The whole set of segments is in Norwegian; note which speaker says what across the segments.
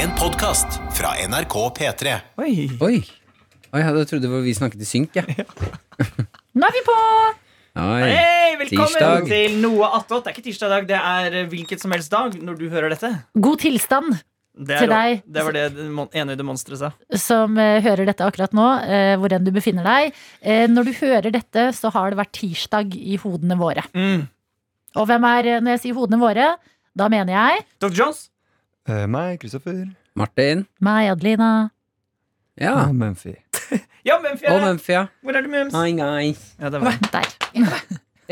Speaker 1: En podcast fra NRK P3.
Speaker 2: Oi.
Speaker 3: Oi! Oi, jeg trodde det var vi snakket i synk, jeg. Ja.
Speaker 4: Nå er vi på!
Speaker 3: Oi.
Speaker 2: Hei, velkommen
Speaker 3: Tirsdag.
Speaker 2: til noe attåt. Det er ikke tirsdag i dag, det er eh, hvilket som helst dag når du hører dette.
Speaker 4: God tilstand
Speaker 2: Det,
Speaker 4: Til
Speaker 2: er,
Speaker 4: deg.
Speaker 2: det var det det mon- enøyde monsteret sa.
Speaker 4: som eh, hører dette akkurat nå, eh, hvor enn du befinner deg. Eh, når du hører dette, så har det vært tirsdag i hodene våre.
Speaker 2: Mm.
Speaker 4: Og hvem er, eh, når jeg sier hodene våre, da mener jeg
Speaker 2: Dr. Jones,
Speaker 5: Eh, meg, Kristoffer.
Speaker 3: Martin.
Speaker 4: meg, Adelina.
Speaker 3: Ah. Ja.
Speaker 5: Og Mumphy.
Speaker 2: ja, Mumphy er
Speaker 3: Og
Speaker 2: her.
Speaker 3: Mumphy, ja.
Speaker 2: Hvor er du, Mums?
Speaker 3: Hi, guys.
Speaker 2: Ja, det var.
Speaker 4: Der.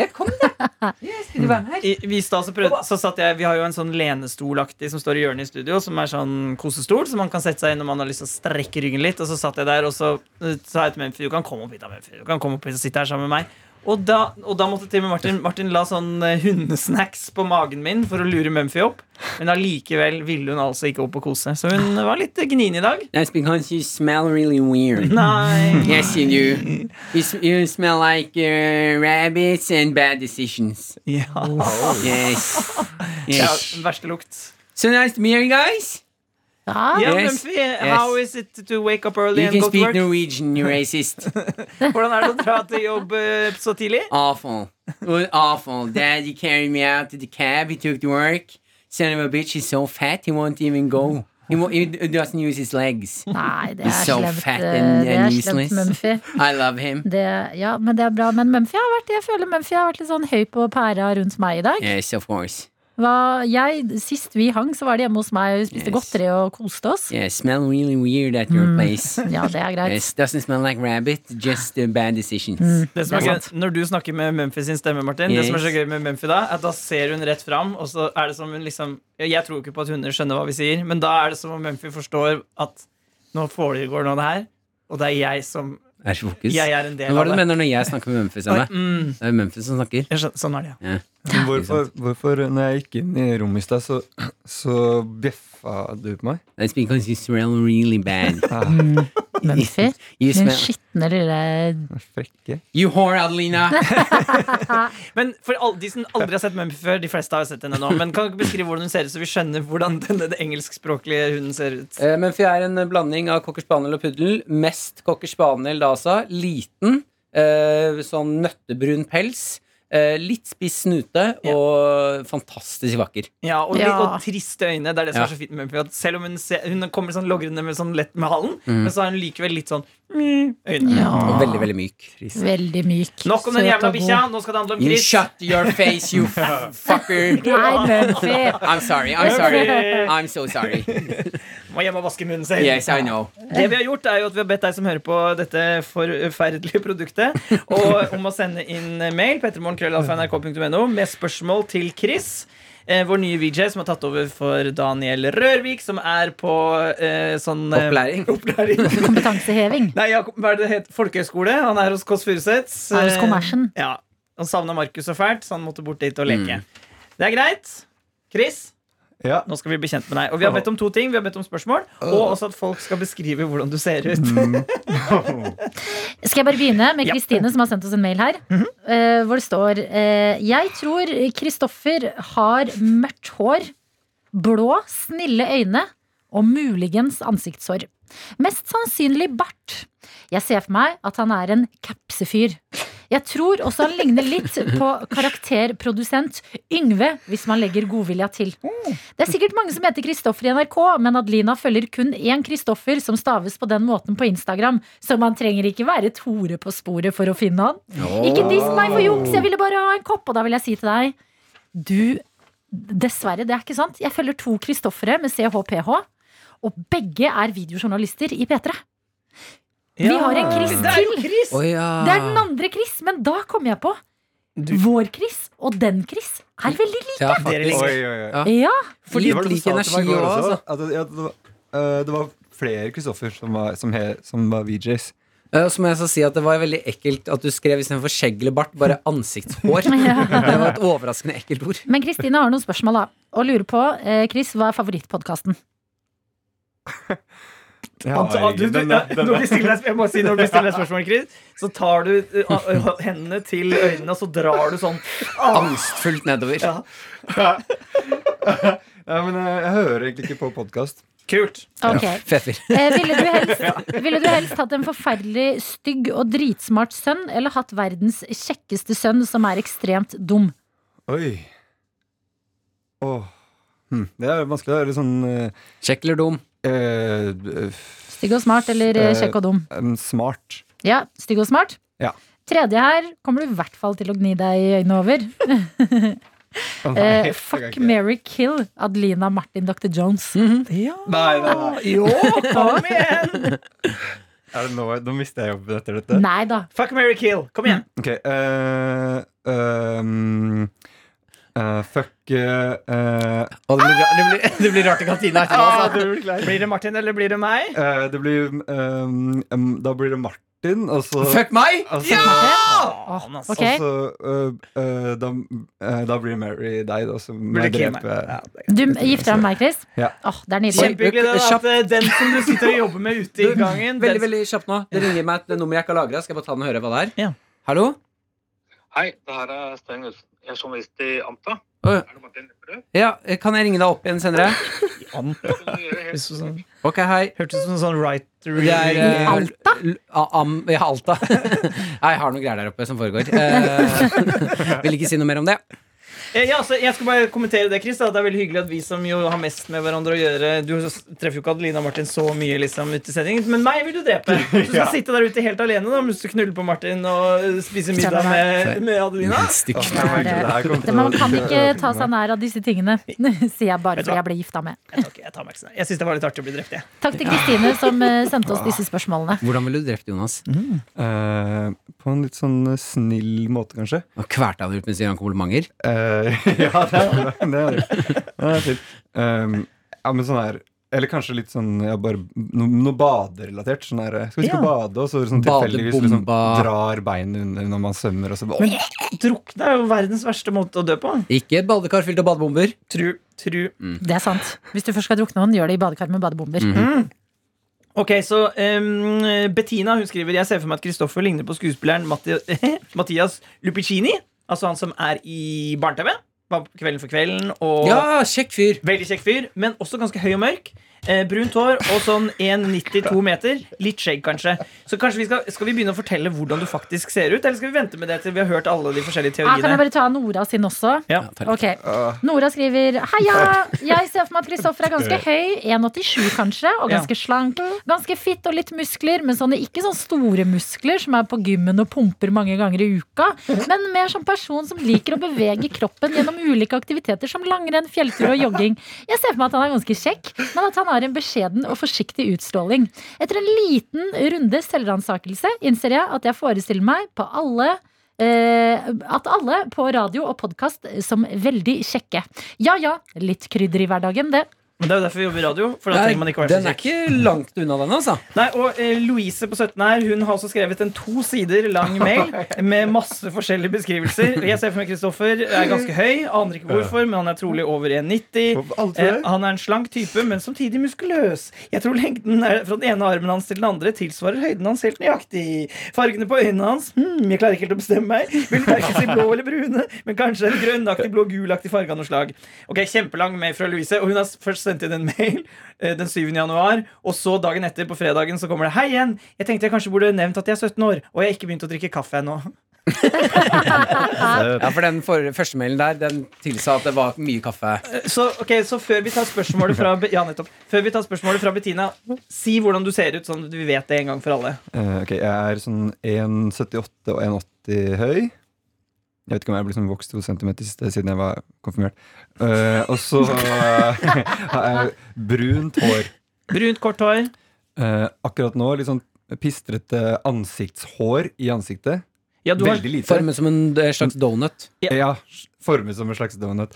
Speaker 3: Ja, kom, da. Jeg skulle være her.
Speaker 2: I, vi, stad så prøvde, så satt jeg, vi har jo en sånn lenestolaktig som står i hjørnet i studio, som er sånn kosestol, som man kan sette seg inn når man har lyst til å strekke ryggen litt. Og så satt jeg der, og så eh, sa jeg til Mumphy du kan komme opp hit, da, Mumphy. Du kan komme opp hit og sitte her sammen med meg. Og da, og da måtte til og med Martin Martin la sånn eh, hundesnacks på magen min for å lure Mumphy opp. Men allikevel ville hun altså ikke opp og kose. Så hun var litt eh, gnien i dag.
Speaker 3: That's because you smell really weird.
Speaker 2: Nei.
Speaker 3: Yes, you do. You, s- you smell like uh, rabbits and bad decisions.
Speaker 2: Ja.
Speaker 3: Yes.
Speaker 2: Ja,
Speaker 3: yes.
Speaker 2: verste lukt.
Speaker 3: So nice to meet you guys.
Speaker 4: Ja.
Speaker 2: Ja,
Speaker 3: Yes.
Speaker 2: Mumphy, how is it to wake up early
Speaker 3: You
Speaker 2: and
Speaker 3: can
Speaker 2: go to
Speaker 3: speak
Speaker 2: work?
Speaker 3: Norwegian, you racist.
Speaker 2: Hvordan er det å dra til jobb eh, så tidlig?
Speaker 3: Awful. It was awful. Daddy carried me out to the cab. He took to work. Son of a bitch is so fat he won't even go. He, won't, he doesn't use his legs.
Speaker 4: Nei, det er
Speaker 3: He's so
Speaker 4: slemt,
Speaker 3: fat
Speaker 4: eh,
Speaker 3: and-
Speaker 4: det
Speaker 3: and
Speaker 4: er slemt
Speaker 3: useless.
Speaker 4: Mumphy.
Speaker 3: I love him.
Speaker 4: Det, ja, men det er bra. Men Mumphy har vært, jeg føler Mumphy har vært litt sånn høy på pæra rundt meg i dag.
Speaker 3: Yes, of course.
Speaker 4: Hva, jeg, sist vi hang, så var det hjemme hos meg, og vi spiste
Speaker 3: Yes.
Speaker 4: godteri og koste oss.
Speaker 3: Yeah, smell really weird at your place.
Speaker 4: Ja, det er greit.
Speaker 3: Yes, doesn't smell like rabbit, just uh, bad decisions.
Speaker 2: Det som er
Speaker 4: Det er
Speaker 2: gøy, når du snakker med Mumphy sin stemme, Martin Det som er så gøy med Mumphy da, at da ser hun rett fram, og så er det som hun liksom ja, Jeg tror jo ikke på at hunder skjønner hva vi sier, men da er det som om Mumphy forstår at nå foregår nå det her, og det er jeg som
Speaker 3: Er så fokus.
Speaker 2: Jeg er en
Speaker 3: Men
Speaker 2: del
Speaker 3: hva er
Speaker 2: av
Speaker 3: det du
Speaker 2: det.
Speaker 3: mener når jeg snakker med Memphis? Anne?
Speaker 2: Mm,
Speaker 3: Det er Memphis som snakker.
Speaker 2: jeg skjønner, sånn er det, ja.
Speaker 3: Ja.
Speaker 5: Men Hvorfor, hvorfor, når jeg gikk inn i rommet i stad, så, så bjeffa du på meg? Ah,
Speaker 3: That's because you smell really bad.
Speaker 4: Mumphy.
Speaker 3: You
Speaker 4: Hun
Speaker 3: smell
Speaker 4: skitne lille
Speaker 5: Frekke.
Speaker 3: You whore, Adelina!
Speaker 2: Men for all, de som aldri har sett Mumphy før, de fleste har jo sett henne nå, men kan du ikke beskrive hvordan hun ser ut, så vi skjønner hvordan denne det engelskspråklige hunden ser ut?
Speaker 3: Eh, Mumphy er en blanding av cocker spaniel og puddel. Mest cocker spaniel, da altså. Liten, eh, sånn nøttebrun pels. eh, Litt spiss snute
Speaker 2: Ja.
Speaker 3: og fantastisk vakker.
Speaker 2: Ja, og,
Speaker 4: Ja.
Speaker 2: og triste øyne. Det er det som
Speaker 3: Ja.
Speaker 2: er så fint med Mumphy. At selv om hun, ser, hun kommer sånn logrende med sånn lett med halen,
Speaker 3: Mm.
Speaker 2: men så har hun likevel litt sånn mm, øyne.
Speaker 5: Ah.
Speaker 3: Og
Speaker 4: Ja,
Speaker 3: veldig, veldig myk.
Speaker 4: veldig myk.
Speaker 2: Nok om den
Speaker 4: søt
Speaker 2: jævla
Speaker 4: og god.
Speaker 2: bikkja. Nå skal det handle om
Speaker 3: You
Speaker 2: Chris.
Speaker 3: shut your face, you f- fucker!
Speaker 4: Nei, Mumphy!
Speaker 3: I'm sorry, I'm sorry. I'm so sorry.
Speaker 2: Må hjem og vaske munnen selv.
Speaker 3: Yes, I know.
Speaker 2: Det vi har gjort, er jo at vi har bedt deg som hører på dette forferdelige produktet, og om å sende inn mail petremorgenkrøllalfa.nrk.no med spørsmål til Chris. eh, Vår nye VJ som har tatt over for Daniel Rørvik, som er på eh, sånn eh,
Speaker 3: Opplæring.
Speaker 2: opplæring.
Speaker 4: Kompetanseheving.
Speaker 2: Nei, Jakob, hva er det det heter? Folkehøyskole. Han er hos Kåss Furuseth.
Speaker 4: Er hos kommersen. Mm.
Speaker 2: Eh, Ja. Han savna Markus så fælt, så han måtte bort dit og leke. Det er greit. Chris,
Speaker 5: Ja.
Speaker 2: nå skal vi bli kjent med deg. Og vi har bedt om to ting. Vi har bedt om spørsmål, og også at folk skal beskrive hvordan du ser ut.
Speaker 4: Mm. Skal jeg bare begynne med
Speaker 2: Ja.
Speaker 4: Kristine, som har sendt oss en mail her. eh, Hvor det står eh, Jeg tror Kristoffer har mørkt hår, blå, snille øyne og muligens ansiktshår. Mest sannsynlig bart. Jeg ser for meg at han er en kapsefyr. Jeg tror også han ligner litt på karakterprodusent Yngve, hvis man legger godvilja til. Det er sikkert mange som heter Kristoffer i NRK, men Adelina følger kun én Kristoffer som staves på den måten på Instagram, så man trenger ikke være et hore på sporet for å finne han. Ikke diss meg for juks, jeg ville bare ha en kopp, og da vil jeg si til deg Du, dessverre, det er ikke sant. Jeg følger to Kristoffere med CHPH, og begge er videojournalister i P3. Vi har en Chris
Speaker 2: Det er jo
Speaker 4: til.
Speaker 2: Chris!
Speaker 3: Å ja.
Speaker 4: Det er den andre Chris, men da kom jeg på. Vår Chris og den Chris er veldig lik.
Speaker 3: Ja,
Speaker 2: Dere
Speaker 3: faktisk.
Speaker 2: ligger-
Speaker 5: Oi, oi, oi.
Speaker 3: Ja.
Speaker 4: Ja,
Speaker 3: Fordi
Speaker 5: Det var det du
Speaker 3: lik
Speaker 5: sa til meg i
Speaker 3: energi
Speaker 5: går
Speaker 3: også,
Speaker 5: også,
Speaker 3: altså.
Speaker 5: at det- ja, det, var, eh, det var flere Kristoffer som var, som, he, som var VJs.
Speaker 3: Eh, Og så må jeg så si at det var veldig ekkelt at du skrev istedenfor skjegg eller bart, bare ansiktshår.
Speaker 4: Ja.
Speaker 3: Det var et overraskende ekkelt ord.
Speaker 4: Men Kristine har noen spørsmål da og lurer på eh, Chris, hva er favorittpodkasten?
Speaker 5: Ja,
Speaker 2: Han tar- ah, du- du- ja, Når vi stiller deg- jeg må si, når vi stiller deg spørsmål, Chris, så tar du uh, uh, hendene til øynene, og så drar du sånn.
Speaker 3: Angstfullt nedover.
Speaker 2: Ja.
Speaker 5: Ja, men jeg, jeg hører eh, egentlig ikke på podkast.
Speaker 2: Kult.
Speaker 4: Ok.
Speaker 6: Feffer.
Speaker 4: Eh, ville, du helst, ville du helst hatt en forferdelig stygg og dritsmart sønn, eller hatt verdens kjekkeste sønn som er ekstremt dum?
Speaker 5: Oi. Åh. Hm. Det er vanskelig. Det er litt sånn eh,
Speaker 6: Kjekk eller dum?
Speaker 5: eh,
Speaker 4: Stygg og smart eller eh, kjekk og dum?
Speaker 5: eh, Smart.
Speaker 4: Ja, stygg og smart.
Speaker 5: Ja.
Speaker 4: Tredje her kommer du i hvert fall til å gni deg i øynene over.
Speaker 5: Å, nei,
Speaker 4: Eh,
Speaker 5: det kan jeg
Speaker 4: fuck,
Speaker 5: ikke. Mm.
Speaker 4: Mary, kill Adelina Martin Dr. Jones.
Speaker 2: Ja.
Speaker 5: Nei, nei, nei.
Speaker 2: Jo, kom igjen!
Speaker 5: Er det nå, nå mister jeg jobben etter dette.
Speaker 4: Nei da.
Speaker 2: Fuck, marry, kill. Kom igjen.
Speaker 5: Ok, eh, ehm, eh, fuck eh, eh,
Speaker 6: Å, det, blir, ra- det, blir, det blir rart i kantina etterpå.
Speaker 2: Ah.
Speaker 6: altså.
Speaker 2: Blir det Martin, eller blir det meg?
Speaker 5: eh, Det blir ehm, em, Da blir det Martin, og så
Speaker 6: Fuck meg!
Speaker 5: altså,
Speaker 2: Faen, altså.
Speaker 4: Ok.
Speaker 5: altså, eh, eh, da, eh, da blir Mary deg, da, som
Speaker 2: Blir det
Speaker 5: jeg
Speaker 2: kill meg?
Speaker 5: dreper.
Speaker 2: Ja, det er eh.
Speaker 4: Du gifter deg med meg, Chris?
Speaker 5: Ja.
Speaker 4: Åh, det er nydelig.
Speaker 2: Kjempehyggelig det da, at eh, den som du sitter og jobber med ute i gangen den-
Speaker 6: Veldig, veldig kjapt nå. Det ringer meg et nummer jeg ikke har lagra. Skal jeg bare ta den og høre hva det er?
Speaker 2: Ja.
Speaker 6: Hallo?
Speaker 7: Hei, det her er Stein Knutsen. Jeg er journalist i Amta.
Speaker 6: Å, ja.
Speaker 7: Er det Martin Lepperød?
Speaker 6: Ja, kan jeg ringe deg opp igjen senere?
Speaker 2: An-
Speaker 7: Det kan du gjøre helt
Speaker 2: Hørtes ut som
Speaker 6: Ok, hei.
Speaker 2: sånn- hørtes ut som en sånn right
Speaker 6: Det er eh,
Speaker 4: Alta?
Speaker 6: L- A- Am, ja, Alta. Nei, jeg har noen greier der oppe som foregår. Eh, vil ikke si noe mer om det.
Speaker 2: Eh, ja, altså, jeg skal bare kommentere det, Chris. da, at Det er veldig hyggelig at vi som jo har mest med hverandre å gjøre Du s- treffer jo ikke Adelina og Martin så mye liksom, ute i sendingen, men meg vil du drepe. Du skal sitte der ute helt alene da, mens du knuller på Martin og eh, spiser middag med, med Adelina.
Speaker 6: Stykk.
Speaker 5: Å, nei, det her kommer
Speaker 4: Det-
Speaker 5: til å-
Speaker 4: Man kan ikke ta seg nær av disse tingene, sier jeg bare
Speaker 2: Vet du
Speaker 4: fordi
Speaker 2: hva?
Speaker 4: jeg ble gifta med.
Speaker 2: Jeg, tar ikke- jeg, tar meg ikke sånn. jeg syns det var litt artig å bli drept, jeg.
Speaker 4: Takk til Kristine som eh, sendte oss disse spørsmålene.
Speaker 6: Hvordan ville du drept Jonas?
Speaker 5: Eh, På en litt sånn eh, snill måte, kanskje.
Speaker 6: Og kverta han ut mens du gir han komplimenter?
Speaker 5: Eh, ja, det er det. Er, det er fint. Ehm, ja, men sånn her Eller kanskje litt sånn ja, bare noe, noe baderelatert. Sånn her, skal vi ikke
Speaker 2: Ja.
Speaker 5: bade, og så sånn tilfeldigvis liksom,
Speaker 6: Badebomba.
Speaker 5: drar beinet under når man svømmer, og så bare,
Speaker 2: Drukne er jo verdens verste måte å dø på.
Speaker 6: Ikke et badekar fylt av badebomber.
Speaker 2: Tru, tru.
Speaker 4: Det er sant. Hvis du først skal drukne noen, gjør det i badekar med badebomber.
Speaker 2: Ok, så em, Bettina hun skriver Jeg ser for meg at Kristoffer ligner på skuespilleren Matti Mathias Lupicini. Altså han som er i Barne-TV. var på Kvelden for kvelden. Og
Speaker 6: Ja, kjekk fyr.
Speaker 2: Veldig kjekk fyr, men også ganske høy og mørk. Eh, brunt hår og sånn 1,92 meter. Litt skjegg, kanskje. Så kanskje vi skal, skal vi begynne å fortelle hvordan du faktisk ser ut, eller skal vi vente med det til vi har hørt alle de forskjellige
Speaker 4: Ja, kan jeg
Speaker 2: teoriene?
Speaker 4: bare ta Nora sin også?
Speaker 2: Ja.
Speaker 4: Ok, Nora skriver Heia, jeg ser for meg at Kristoffer er ganske høy 1,87 kanskje, og ganske slank Ganske fitt og litt muskler Men sånne, ikke sånne store muskler Som er på gymmen og pumper mange ganger i uka Men mer som person som liker å bevege kroppen Gjennom ulike aktiviteter Som langrenn, fjelltur og jogging Jeg ser for meg at han er ganske kjekk Men at han har en beskjeden og forsiktig utstråling Etter en liten runde selvransakelse Innser jeg at jeg forestiller meg På alle Eh, at alle på radio og podkast som veldig kjekke. Ja ja, litt krydder i hverdagen, det.
Speaker 2: Men det er jo derfor vi jobber i radio. For da trenger man ikke å være så
Speaker 6: den er
Speaker 2: kjekk.
Speaker 6: ikke langt unna, den, altså.
Speaker 2: Nei, og eh, Louise på 17 her Hun har også skrevet en to sider lang mail med masse forskjellige beskrivelser. Og Jeg ser for meg Kristoffer er ganske høy, aner ikke hvorfor, men han er trolig over 1,90.
Speaker 5: Alt for
Speaker 2: Eh,
Speaker 5: det.
Speaker 2: han er en slank type, men samtidig muskuløs. Jeg tror lengden er fra den ene armen hans til den andre tilsvarer høyden hans helt nøyaktig. Fargene på øynene hans hmm, Jeg klarer ikke helt å bestemme meg. Vil verken si blå eller brune, men kanskje en grønnaktig, blå-gulaktig farge av noe slag. Ok, Kjempelang mail fra Louise, og hun har s- først sendt inn en mail eh, den 7. januar, og så dagen etter, på fredagen, så kommer det Hei igjen! Jeg tenkte jeg kanskje burde nevnt at jeg er 17 år, og jeg har ikke begynt å drikke kaffe ennå.
Speaker 6: Ja, For den for, første mailen der, den tilsa at det var mye kaffe.
Speaker 2: Så, ok, så før vi tar spørsmålet fra Be- Ja, nettopp. Før vi tar spørsmålet fra Bettina, si hvordan du ser ut, sånn at vi vet det en gang for alle.
Speaker 5: Eh, Ok, jeg er sånn 1,78 og 1,80 høy. Jeg vet ikke om jeg har liksom vokst to centimeter siste- siden jeg var konfirmert. Eh, og så eh, har jeg brunt hår.
Speaker 2: Brunt, kort hår.
Speaker 5: Eh, akkurat nå litt sånn pistrete ansiktshår i ansiktet.
Speaker 2: Ja, du har
Speaker 5: Veldig lite.
Speaker 6: Formet som en eh, slags donut.
Speaker 5: Ja, Formet som en slags donut.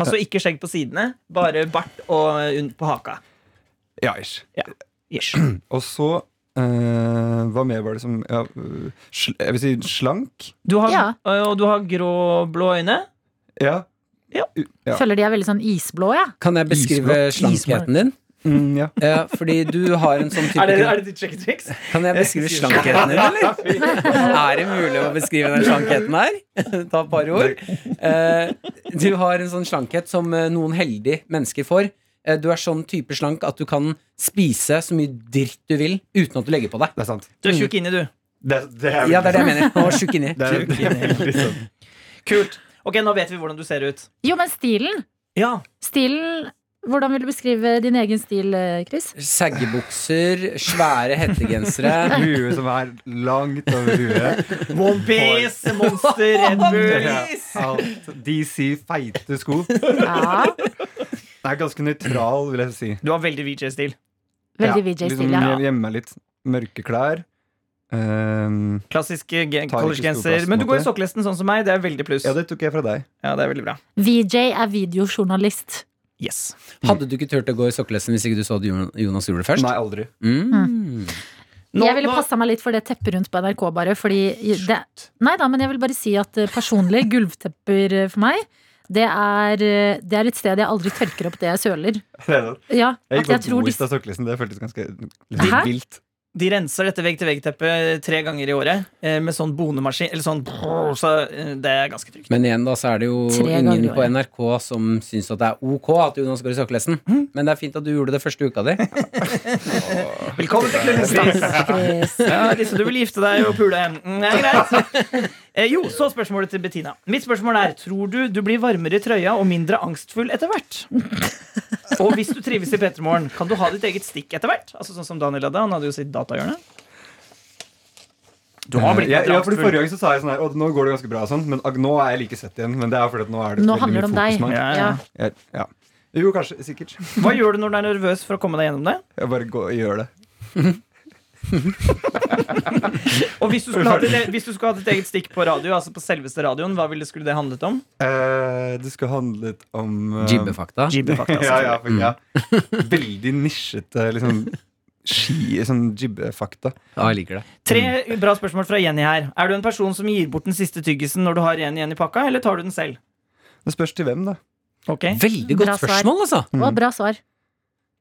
Speaker 2: altså ikke skjegg på sidene, bare bart og un- på haka.
Speaker 5: Ja, ish.
Speaker 2: Ish.
Speaker 5: Og så eh, Hva mer var det som ja, øh, sl Jeg vil si slank.
Speaker 2: Du har,
Speaker 4: Ja.
Speaker 2: Og du har grå-blå øyne.
Speaker 5: Ja. Ja.
Speaker 4: Føler de er veldig sånn isblå, jeg.
Speaker 6: Kan jeg beskrive
Speaker 5: Isblå.
Speaker 6: slankheten din?
Speaker 5: Mm, ja.
Speaker 6: Ja, fordi du har en sånn type
Speaker 2: Er det, er det ditt sjekketriks?
Speaker 6: Kan jeg beskrive slankheten din, eller? Er det mulig å beskrive den slankheten her? Ta et par ord. Eh, Du har en sånn slankhet som eh, noen heldige mennesker får. Eh, Du er sånn type slank at du kan spise så mye dritt du vil uten at du legger på deg.
Speaker 5: Det er sant.
Speaker 2: Du er tjukk inni, du.
Speaker 5: Det, det er,
Speaker 6: Ja, det er det jeg mener. Han var tjukk inni.
Speaker 5: det er, det er veldig sant.
Speaker 2: Kult. Ok, nå vet vi hvordan du ser ut.
Speaker 4: Jo, men stilen.
Speaker 2: Ja.
Speaker 4: Stilen Hvordan vil du beskrive din egen stil, eh, Chris?
Speaker 6: Saggebukser, svære hettegensere.
Speaker 5: Huet som er langt over huet.
Speaker 2: Onepiece, Monster, Red Bull.
Speaker 5: Ja, alt. DC feite sko.
Speaker 4: Ja,
Speaker 5: Det er ganske nøytral, vil jeg si.
Speaker 2: Du har veldig VJ-stil.
Speaker 4: Veldig
Speaker 5: Ja,
Speaker 4: VJ-stil,
Speaker 5: liksom
Speaker 4: ja.
Speaker 5: hjem- Hjemme litt mørke klær. Ehm,
Speaker 2: Klassisk eh, ge-
Speaker 5: Tar ikke stor
Speaker 2: collegegenser.
Speaker 5: plass,
Speaker 2: Men du
Speaker 5: på en
Speaker 2: går i
Speaker 5: måte.
Speaker 2: sokkelesten sånn som meg. Det er veldig pluss.
Speaker 5: ja, det tok jeg fra deg.
Speaker 2: Ja, det er veldig bra.
Speaker 4: VJ er videojournalist.
Speaker 2: Yes.
Speaker 6: Hadde du ikke turt å gå i sokkelesten hvis ikke du så at Jon- Jonas gjorde det først?
Speaker 5: Nei, aldri.
Speaker 6: Mm.
Speaker 2: Nå-
Speaker 4: jeg ville
Speaker 2: nå-
Speaker 4: passa meg litt for det teppet rundt på NRK, bare fordi det, Nei da, men jeg vil bare si at eh, personlig, gulvtepper eh, for meg, det er, eh, det er et sted jeg aldri tørker opp det jeg søler. Ja,
Speaker 5: Jeg
Speaker 4: at jeg
Speaker 5: gikk på
Speaker 4: tror
Speaker 5: Boist
Speaker 4: disse
Speaker 5: av sokkelesten. Det føltes ganske
Speaker 4: Hæ?
Speaker 5: litt vilt.
Speaker 2: De renser dette vegg-til-vegg-teppet tre ganger i året eh, med sånn bonemaskin. Eller sånn brrr, Så eh, det er ganske trygt.
Speaker 6: Men igjen, da, så er det jo
Speaker 4: Tre ganger
Speaker 6: ingen
Speaker 4: i
Speaker 6: på
Speaker 4: året.
Speaker 6: NRK som syns at det er ok at Jonas går i sokkelesten. Men det er fint at du gjorde det første uka di.
Speaker 2: Velkommen til Klubbestans!
Speaker 4: Chris.
Speaker 2: Ja, Lise, du vil gifte deg og pule. Mm, Det er greit. Eh, jo, så spørsmålet til Bettina. Mitt spørsmål er Tror du du blir varmere i trøya og mindre angstfull etter hvert? Og hvis du trives i P3morgen, kan du ha ditt eget stikk etter hvert? Altså sånn som Daniel hadde, Han hadde jo sitt datahjørne. Du har blitt
Speaker 5: Eh,
Speaker 2: mindre
Speaker 5: ja, ja, for
Speaker 2: angstfull.
Speaker 5: Forrige gang så sa jeg sånn her Å, nå går det ganske bra, og sånn, men ag- nå er jeg like sett igjen. Men det er fordi at nå er det
Speaker 4: Nå
Speaker 5: veldig
Speaker 4: handler det om
Speaker 5: mye fokus
Speaker 4: deg.
Speaker 5: på meg.
Speaker 2: Ja,
Speaker 4: Ja.
Speaker 2: ja.
Speaker 5: Jeg- ja. Jo, kanskje. Sikkert.
Speaker 2: Hva gjør du når du er nervøs for å komme deg gjennom det?
Speaker 5: Jeg bare går og gjør det.
Speaker 2: Og hvis du skulle hatt et, e- hvis du skulle hatt et eget stikk på radio, altså på selveste radioen, hva ville skulle det handlet om?
Speaker 5: Eh, det skulle handlet om eh,
Speaker 6: Jibbefakta.
Speaker 2: Jibbefakta.
Speaker 5: Ja, ja,
Speaker 2: selvfølgelig.
Speaker 5: for, ja. Veldig nisjete liksom, ski, sånn jibbefakta.
Speaker 6: Ja, jeg liker det.
Speaker 2: Tre bra spørsmål fra Jenny her. Er du en person som gir bort den siste tyggisen når du har en igjen i pakka, eller tar du den selv?
Speaker 5: Det spørs til hvem, da.
Speaker 2: Ok,
Speaker 6: Veldig
Speaker 4: Bra
Speaker 6: godt
Speaker 4: svar.
Speaker 6: spørsmål, altså.
Speaker 4: Det
Speaker 5: Mm.
Speaker 4: var bra svar.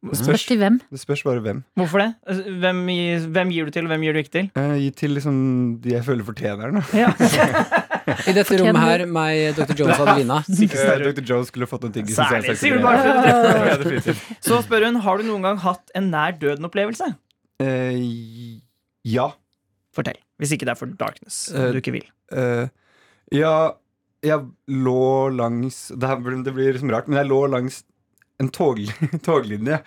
Speaker 5: Det
Speaker 4: Spørs
Speaker 5: spørs,
Speaker 4: til hvem.
Speaker 5: det spørs bare hvem.
Speaker 2: Hvorfor det? Hvem, gi- hvem gir du til, og hvem gir du ikke til?
Speaker 5: Eh, gi til liksom de jeg føler fortjener den. da.
Speaker 2: Ja.
Speaker 6: I dette rommet her, meg, Dr. Jones og Adelina.
Speaker 5: Eh, Dr. Jones skulle fått en tyggis.
Speaker 2: Særlig,
Speaker 5: selvsagt,
Speaker 2: sier du
Speaker 5: fordi-
Speaker 2: bare.
Speaker 5: Ja, det er definitivt.
Speaker 2: Så spør hun har du noen gang hatt en nær døden-opplevelse.
Speaker 5: Eh, ja.
Speaker 2: Fortell. Hvis ikke det er for darkness.
Speaker 5: Eh,
Speaker 2: Du ikke vil.
Speaker 5: Eh, ja, jeg lå langs Det, her, blir- det blir liksom rart, men jeg lå langs en tog, toglinje.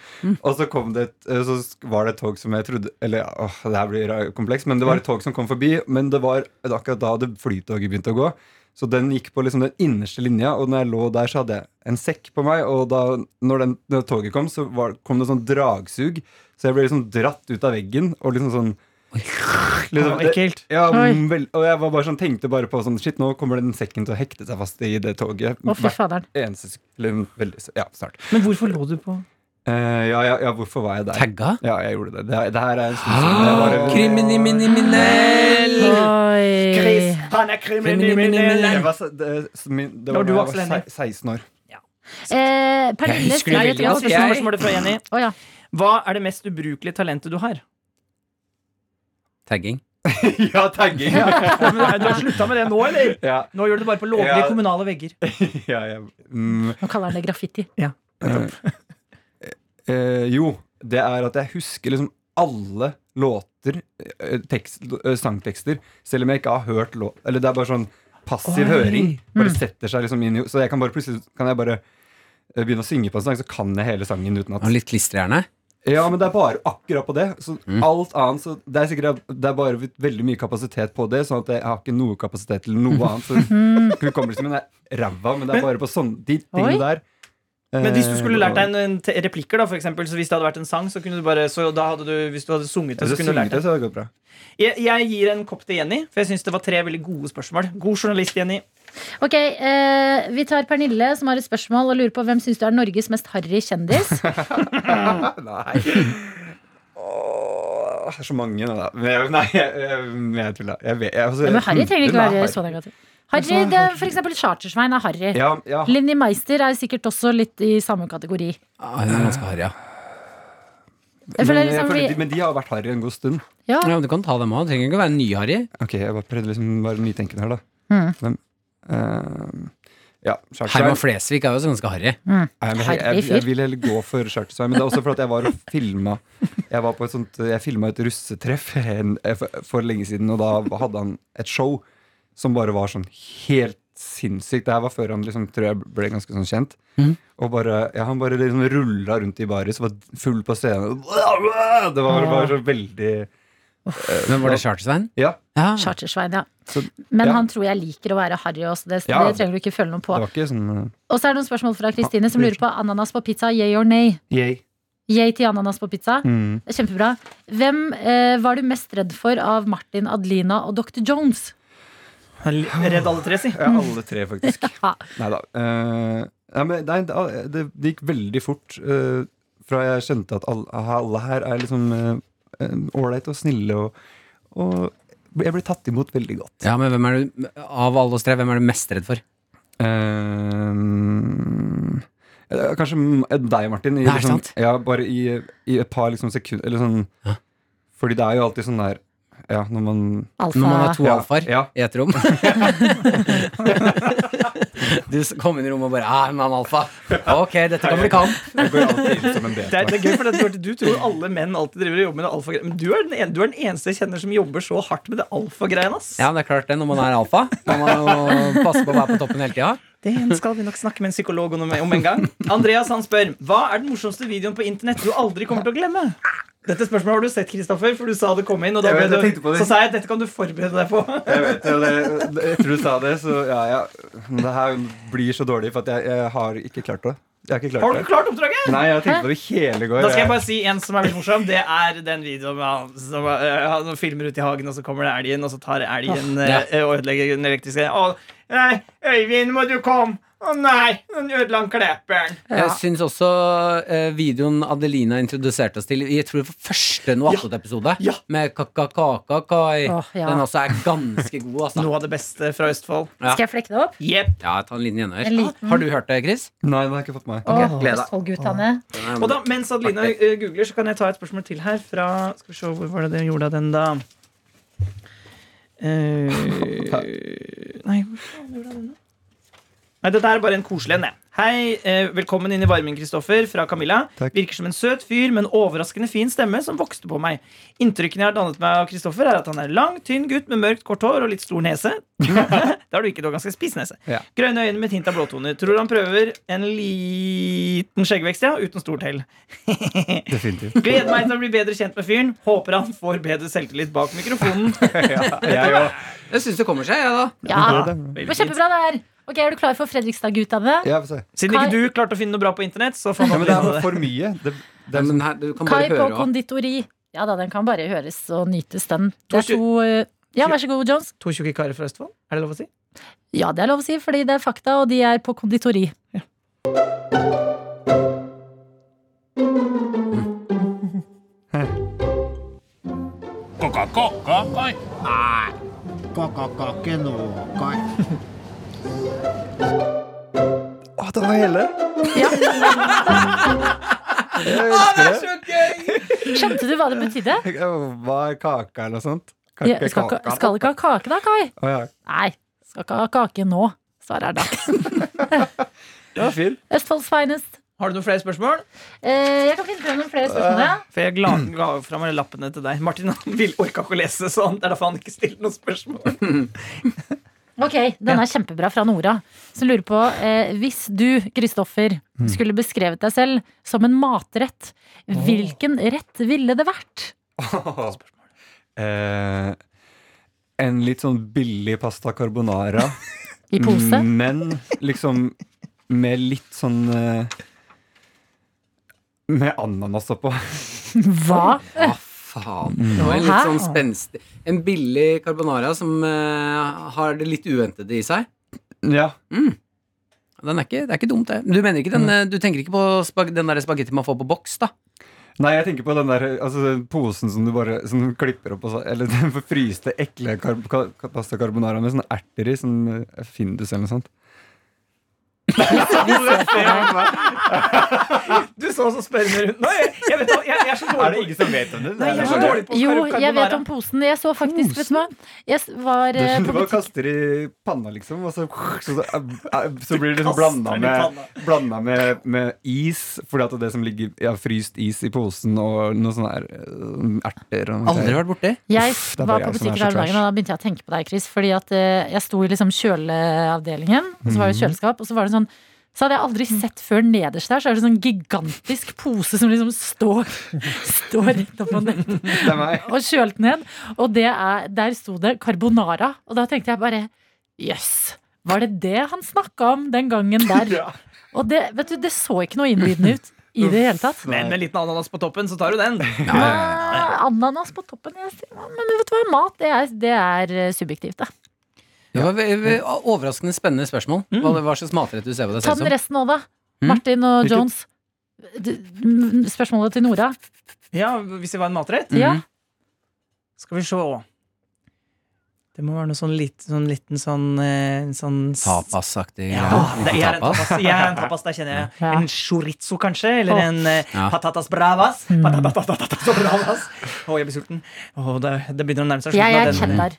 Speaker 5: Og så, kom det et, eh, så sk- var det et tog som jeg trodde Eller åh, det her blir ra- kompleks, men det var et tog som kom forbi. Men det var akkurat da det flytoget begynte å gå. Så den gikk på liksom den innerste linja, og når jeg lå der, så hadde jeg en sekk på meg. Og da når den, når toget kom, så var, kom det sånn dragsug. Så jeg ble liksom dratt ut av veggen. Og liksom sånn liksom,
Speaker 2: Å,
Speaker 5: det-
Speaker 2: Ekkelt.
Speaker 5: ja,
Speaker 4: Oi.
Speaker 5: mm, vel, og jeg var bare sånn, tenkte bare på sånn Shit, nå kommer den sekken til å hekte seg fast i det toget.
Speaker 4: Å, fy
Speaker 5: Hvert
Speaker 4: faderen.
Speaker 5: eneste sekund. eller Veldig, s- ja, snart.
Speaker 2: Men hvorfor lå du på
Speaker 5: Eh, ja, ja, ja, hvorfor var jeg der?
Speaker 6: Tagga?
Speaker 5: Ja, jeg gjorde det. Det, her- det her er en stund siden. Det var, eh, en-
Speaker 6: Ah, Kriminell!
Speaker 2: Eh,
Speaker 4: Oi.
Speaker 2: han er
Speaker 5: det var, s- det, s- min, det var
Speaker 2: Når du
Speaker 5: da
Speaker 2: var
Speaker 5: jeg var
Speaker 2: Selene.
Speaker 5: se- 16 år.
Speaker 4: Eh,
Speaker 6: Jeg
Speaker 4: Pernille
Speaker 6: husker det
Speaker 4: skriver
Speaker 6: veldig
Speaker 4: til oss
Speaker 6: godt,
Speaker 4: spørsmål.
Speaker 6: jeg.
Speaker 2: Spørsmålet fra Jenny.
Speaker 4: Å ja.
Speaker 2: Hva er det mest ubrukelige talentet du har?
Speaker 6: Tagging.
Speaker 5: ja, tagging! Ja.
Speaker 2: Ja, men Du har slutta med det nå, eller?
Speaker 5: Ja,
Speaker 2: Nå gjør du det bare på lovlige
Speaker 5: Ja.
Speaker 2: kommunale vegger.
Speaker 5: ja, jeg- mm,
Speaker 4: Nå kaller han det graffiti.
Speaker 5: eh, jo, det er at jeg husker liksom alle låter, eh, tekst, eh, sangtekster, selv om jeg ikke har hørt låt. Eller det er bare sånn passiv
Speaker 2: Oi. Mm.
Speaker 5: høring. Bare setter seg liksom inn i Så jeg kan bare plutselig kan jeg bare eh, begynne å synge på en sang, så kan jeg hele sangen uten at
Speaker 6: Og litt klisterhjerne.
Speaker 5: Ja, men det er bare akkurat på det. Så
Speaker 2: Mm.
Speaker 5: alt annet så Det er sikkert det er bare veldig mye kapasitet på det, sånn at jeg har ikke noe kapasitet til noe annet. Så
Speaker 2: Mhm.
Speaker 5: hukommelsen min er ræva, men det er bare på sånn de
Speaker 4: Oi.
Speaker 5: tingene der.
Speaker 2: Men hvis du
Speaker 5: eh,
Speaker 2: skulle lært deg en, en te- replikker, da, for eksempel, så hvis det hadde vært en sang, så kunne du bare så da hadde du, Hvis du hadde sunget det,
Speaker 5: Hvis
Speaker 2: så
Speaker 5: du
Speaker 2: kunne du
Speaker 5: synger
Speaker 2: lært
Speaker 5: det,
Speaker 2: det.
Speaker 5: så hadde det gått bra.
Speaker 2: Jeg, jeg gir en kopp til Jenny, for jeg syns det var tre veldig gode spørsmål. God journalist, Jenny.
Speaker 4: Ok, eh, Vi tar Pernille, som har et spørsmål, og lurer på hvem syns du er Norges mest harry kjendis?
Speaker 5: Nei. Åh, det er så mange nå, da. Men jeg- Nei, jeg, jeg, jeg tuller. Jeg vet, jeg, altså,
Speaker 4: Ja, men Harry trenger ikke
Speaker 5: den
Speaker 4: være
Speaker 5: er
Speaker 4: sånn.
Speaker 5: harry.
Speaker 4: så negativ. Harry, det er for eksempel Chartersvein er harry.
Speaker 5: Ja, ja.
Speaker 4: Linni Meister er sikkert også litt i samme kategori.
Speaker 6: Ah, hun er ganske harry, ja.
Speaker 4: Jeg
Speaker 5: men,
Speaker 4: føler
Speaker 5: jeg
Speaker 4: liksom
Speaker 5: føler de,
Speaker 4: vi,
Speaker 5: men de har vært harry en god stund.
Speaker 4: ja,
Speaker 6: ja. men Du kan ta dem òg. Trenger ikke å være ny-harry.
Speaker 4: Mm.
Speaker 5: Ok, jeg bare prøvde liksom bare nytenkende her, da. Hvem? Eh, Ja, Charter
Speaker 3: Herman Flesvig er jo så ganske harry.
Speaker 5: Jeg, jeg,
Speaker 4: Herlig
Speaker 5: jeg,
Speaker 4: fyr.
Speaker 5: jeg vil heller gå for Chartersveien, men det er også fordi at jeg var og filma Jeg var på et sånt Jeg filma et russetreff en, for, for lenge siden, og da hadde han et show som bare var sånn helt sinnssykt. Det her var før han liksom, tror jeg ble ganske sånn kjent.
Speaker 4: Mhm.
Speaker 5: Og bare, ja, Han bare liksom rulla rundt i baris og var full på scenen. Det var bare så veldig
Speaker 6: Mm.
Speaker 3: Men var det Charter-Svein?
Speaker 5: Ja.
Speaker 3: Ja.
Speaker 4: Chartersvein, ja.
Speaker 5: Så,
Speaker 4: Men
Speaker 5: Ja.
Speaker 4: han tror jeg liker å være harry også, det,
Speaker 5: Ja.
Speaker 4: det trenger du ikke føle noe på.
Speaker 5: det var ikke sånn
Speaker 4: Og så er det noen spørsmål fra Kristine som lurer på ananas på pizza, yay or nay?
Speaker 5: Yay.
Speaker 4: Yay til ananas på pizza.
Speaker 5: Mm.
Speaker 4: Det er Kjempebra. Hvem eh, var du mest redd for av Martin, Adelina og Dr. Jones?
Speaker 2: Redd alle tre, si.
Speaker 5: Ja, alle tre, faktisk.
Speaker 4: Ja.
Speaker 5: Neida. Eh, nei men nei, det, det, det gikk veldig fort eh, fra jeg skjønte at alle, alle her er liksom eh, eh, ålreite og snille, og, og jeg ble tatt imot veldig godt.
Speaker 3: ja, men hvem er du, av alle oss tre, hvem er du mest redd for?
Speaker 5: Eh, eh, kanskje m- deg, Martin. I, liksom,
Speaker 3: Nei, sant?
Speaker 5: Ja, bare i, i et par liksom, sekunder. Eller sånn,
Speaker 3: Ja.
Speaker 5: Fordi det er jo alltid sånn der Ja, når man
Speaker 4: Alfa.
Speaker 3: Når man har to
Speaker 5: Ja,
Speaker 3: alfaer
Speaker 5: ja.
Speaker 3: i et rom. du s- kom inn i rommet og bare ah, 'Mann, alfa'. Ok, dette kan bli kamp.
Speaker 5: Jeg går alltid inn som en
Speaker 2: Det er,
Speaker 5: beta.
Speaker 2: det er gøy, for det, Bjarte, Du tror alle menn alltid driver og jobber med det alfagreiene. Men du er, den en, du er den eneste jeg kjenner som jobber så hardt med det alfagreiene. ass.
Speaker 3: Ja, men det er klart det. Når man er alfa, må man jo passe på å være på toppen hele tida.
Speaker 2: Det skal vi nok snakke med en psykolog om, om en gang. Andreas han spør hva er den morsomste videoen på internett du aldri kommer til å glemme. Dette spørsmålet har du sett, Kristoffer, for du sa det kom inn. Og da
Speaker 5: Jeg
Speaker 2: ble
Speaker 5: vet, jeg
Speaker 2: du,
Speaker 5: tenkte på det.
Speaker 2: så sa jeg dette kan du forberede deg på.
Speaker 5: Jeg vet jo det. Etter du sa det, så ja, ja. Det her blir så dårlig, for at jeg, jeg har ikke klart det. Jeg har ikke
Speaker 2: Har du
Speaker 5: klart det.
Speaker 2: klart oppdraget?
Speaker 5: Nei, jeg tenkte på det hele går.
Speaker 2: Da skal jeg bare si en som er litt morsom. Det er den videoen med han som eh, han filmer ute i hagen, og så kommer det elgen, og så tar elgen
Speaker 5: Ah,
Speaker 3: ja.
Speaker 2: eh, og ødelegger den elektriske. Å, nei, Øyvind, må du komme? Å nei, den ødela han kleperen.
Speaker 3: Jeg syns også eh, videoen Adelina introduserte oss til Jeg tror det var første Noe Attåt-episode
Speaker 2: Ja.
Speaker 3: med kakakakakai.
Speaker 4: Åh, ja.
Speaker 3: Den også er ganske god, altså.
Speaker 2: Noe av det beste fra Østfold.
Speaker 3: Ja.
Speaker 4: Skal jeg flekke det opp?
Speaker 2: Jepp.
Speaker 3: Ja, ta en liten gjenhør.
Speaker 4: En liten.
Speaker 3: Har du hørt det, Chris?
Speaker 5: Nei, den har jeg ikke fått med meg.
Speaker 4: Åh,
Speaker 3: gled deg.
Speaker 4: Østfoldguttene.
Speaker 2: Og da, mens Adelina eh, googler, så kan jeg ta et spørsmål til her fra Skal vi se, hvor var det dere gjorde av den, da? Eh, nei, hvor faen gjorde jeg den, da? Nei, dette er bare en koselig en, jeg. Hei, eh, velkommen inn i varmen, Kristoffer, fra Camilla.
Speaker 5: Takk.
Speaker 2: Virker som en søt fyr med en overraskende fin stemme som vokste på meg. Inntrykkene jeg har dannet meg av Kristoffer, er at han er lang, tynn gutt med mørkt, kort hår og litt stor nese. det har du ikke, du har ganske spiss nese.
Speaker 5: Ja.
Speaker 2: Grønne øyne med et hint av blåtoner. Tror han prøver en liten skjeggvekst, ja, uten stort hell.
Speaker 5: Definitivt.
Speaker 2: Gleder meg til å bli bedre kjent med fyren. Håper han får bedre selvtillit bak mikrofonen.
Speaker 5: Jeg òg.
Speaker 3: Jeg syns det kommer seg, jeg, ja, da.
Speaker 4: Ja, det
Speaker 2: Veldig
Speaker 4: var
Speaker 2: fint.
Speaker 4: kjempebra det her. Ok, Er du klar for Fredrikstad-guttene?
Speaker 5: Ja, få se.
Speaker 2: Siden ikke du klarte å finne noe bra på internett, så fant
Speaker 5: Ja,
Speaker 2: han
Speaker 5: men det
Speaker 2: ut av
Speaker 5: er
Speaker 2: det.
Speaker 5: for mye. Det, det
Speaker 3: Ja,
Speaker 5: er sånn-
Speaker 3: men her, du kan
Speaker 4: Kai
Speaker 3: bare
Speaker 4: på
Speaker 3: høre også.
Speaker 4: konditori. Ja da, den kan bare høres og nytes, den. Det er
Speaker 2: To tju-
Speaker 4: to eh, Ja, vær så god, Jones.
Speaker 2: To tjukke karer fra Østfold? Er det lov å si?
Speaker 4: Ja, det er lov å si, fordi det er fakta, og de er på konditori.
Speaker 5: Å, det var hele!
Speaker 4: Ja.
Speaker 5: Jeg elsker det.
Speaker 4: Skjønte du hva det betydde?
Speaker 5: Hva er kake eller noe sånt?
Speaker 4: Ja, skal, ikke- skal ikke ha kake da, Kai?
Speaker 5: Å, ja.
Speaker 4: Nei, skal ikke ha kake nå. Svaret er da.
Speaker 5: Det var fint.
Speaker 4: Østfolds finest.
Speaker 2: Har du noen flere spørsmål?
Speaker 4: Eh, jeg kan finne frem noen flere spørsmål. ja.
Speaker 2: For jeg la, ga fra meg lappene til deg. Martin han vil orka ikke å lese, så han, det er derfor han ikke stiller noen spørsmål.
Speaker 4: Ok, Den er kjempebra fra Nora, som lurer på eh, Hvis du, Kristoffer, skulle beskrevet deg selv som en matrett, hvilken rett ville det vært?
Speaker 5: Eh, en litt sånn billig pasta carbonara.
Speaker 4: I pose?
Speaker 5: Mm. Men liksom med litt sånn eh, Med ananas oppå.
Speaker 4: Hva?
Speaker 3: Å, faen. Det var en litt
Speaker 4: Hæ?
Speaker 3: sånn spenstig En billig carbonara som eh, har det litt uventede i seg.
Speaker 5: Ja.
Speaker 3: Den er ikke, det er ikke dumt, det. Du, mener ikke
Speaker 2: Mm.
Speaker 3: den, eh, du tenker ikke på spag den der spagetti man får på boks, da?
Speaker 5: Nei, jeg tenker på den der altså, den posen som du bare som du klipper opp og så, Eller den fryste, ekle kar ka ka- pasta carbonara med sånne erter i. Sånn eh, Findus eller noe sånt.
Speaker 2: Du så så spørrende rundt. Nå, jeg, jeg, vet, hva- jeg er så dårlig
Speaker 8: Er det ingen som vet om det?
Speaker 2: Nei, jeg er så dårlig på
Speaker 4: Jo,
Speaker 2: kar-
Speaker 4: jeg vet
Speaker 2: carbonara.
Speaker 4: om posen. Jeg så faktisk, vet du hva Jeg s- var
Speaker 5: Det
Speaker 4: eh,
Speaker 5: er som
Speaker 4: på
Speaker 5: du bare
Speaker 4: butikk-
Speaker 5: kaster i panna, liksom, og så, så, så, så blir det liksom
Speaker 2: Kaster den
Speaker 5: blanda
Speaker 2: i
Speaker 5: med,
Speaker 2: panna.
Speaker 5: blanda med, med is. Fordi at det som ligger ja, fryst is i posen, og noe sånn her eh, erter og noe
Speaker 3: Aldri
Speaker 5: greier.
Speaker 3: vært borti.
Speaker 4: Jeg
Speaker 5: Uff, det
Speaker 4: var
Speaker 5: er bare
Speaker 4: på
Speaker 5: jeg som
Speaker 4: butikken
Speaker 5: er
Speaker 4: her
Speaker 5: så
Speaker 4: om dagen, og da begynte jeg å tenke på deg, Chris. Fordi at eh, jeg sto i liksom kjøleavdelingen, og så var
Speaker 5: Mhm.
Speaker 4: det kjøleskap, og så var det sånn så hadde jeg aldri sett før nederst der, så er det sånn gigantisk pose som liksom står, står rett opp og ned
Speaker 5: Det er meg.
Speaker 4: og kjølt ned. Og det er, der sto det carbonara. Og da tenkte jeg bare jøss, var det det han snakka om den gangen der? Og det, vet du, det så ikke noe innbydende ut i det hele tatt.
Speaker 2: Men med en liten ananas på toppen, så tar du den.
Speaker 4: Nei, Ananas på toppen. Jeg, sier, men vet du hva, mat det er, det er eh, subjektivt, da.
Speaker 3: Det var ve- ve- overraskende spennende spørsmål.
Speaker 2: Mm.
Speaker 3: Hva, hva slags matrett du ser på deg
Speaker 4: Ta
Speaker 3: selv som?
Speaker 4: den resten òg, da. Martin og
Speaker 5: Hvilket-
Speaker 4: Jones. Du- m- Spørsmålet til Nora.
Speaker 2: Ja, Hvis det var en matrett?
Speaker 4: Ja.
Speaker 2: Skal vi se. Det må være noe sånn, litt, sånn liten sånn, eh, sånn s-
Speaker 3: Tapasaktig.
Speaker 2: Ja,
Speaker 3: greie.
Speaker 2: det, jeg er en
Speaker 3: Tapas.
Speaker 2: tapas. Jeg er en tapas, der kjenner jeg.
Speaker 4: Ja.
Speaker 2: En chorizo, kanskje? Eller
Speaker 4: Åh. Mm.
Speaker 2: en eh,
Speaker 3: Ja.
Speaker 2: patatas bravas? Patatas bravas. Å, jeg blir sulten. Å, det, det begynner å nærme seg slutten.
Speaker 4: Jeg
Speaker 2: av
Speaker 4: er
Speaker 2: den.
Speaker 4: cheddar.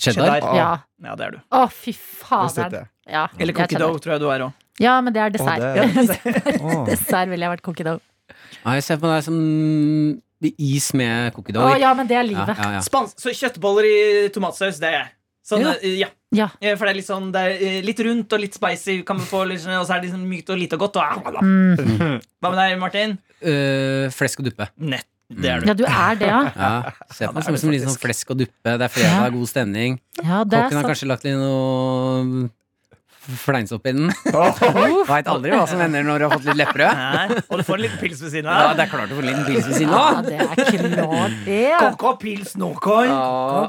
Speaker 3: Cheddar.
Speaker 2: Cheddar.
Speaker 4: Ja.
Speaker 2: Ja, det er du.
Speaker 4: Å, fy
Speaker 5: Det setter
Speaker 4: faderen.
Speaker 5: jeg.
Speaker 4: Ja,
Speaker 2: Eller
Speaker 4: jeg er
Speaker 2: cookie
Speaker 4: cheddar.
Speaker 2: dough, tror jeg du er òg.
Speaker 4: Ja, men det er
Speaker 5: Å, det
Speaker 4: dessert.
Speaker 5: er- Å.
Speaker 4: Dessert ville jeg vært cookie dough.
Speaker 3: Ja, jeg ser på deg som is med cookie
Speaker 4: Å
Speaker 3: dough.
Speaker 4: ja, men det er
Speaker 3: Ja,
Speaker 4: livet.
Speaker 3: ja, ja.
Speaker 2: Spans så kjøttboller i tomatsaus, det er jeg. Sånn,
Speaker 3: Ja.
Speaker 2: eh, ja.
Speaker 4: Ja.
Speaker 2: Eh, For det er litt sånn det er eh, litt rundt og litt spicy, kan man få litt, sånn- og så er det liksom mykt og lite og godt. Og,
Speaker 4: Mm.
Speaker 2: hva med deg, Martin?
Speaker 3: Øh, flesk og duppe.
Speaker 2: Nett. Det er du.
Speaker 4: Ja, du er det, ja.
Speaker 3: Ja, se
Speaker 2: det
Speaker 3: på meg
Speaker 2: er
Speaker 3: som,
Speaker 2: det
Speaker 3: som litt sånn
Speaker 2: faktisk.
Speaker 3: flesk og duppe. Det er fredag,
Speaker 4: Ja.
Speaker 3: god stemning.
Speaker 4: ja det er
Speaker 3: Kokken har
Speaker 4: sant.
Speaker 3: kanskje lagt litt noe fleinsopp i den. Veit aldri hva som hender når du har fått litt lepperød.
Speaker 2: Nei, og du får en liten pils ved siden
Speaker 3: Ja,
Speaker 2: av.
Speaker 3: det er klart du får en liten pils ved siden
Speaker 4: Ja,
Speaker 3: av.
Speaker 4: det er klart, det.
Speaker 2: Kaka pils nå, Kai.
Speaker 3: Ja.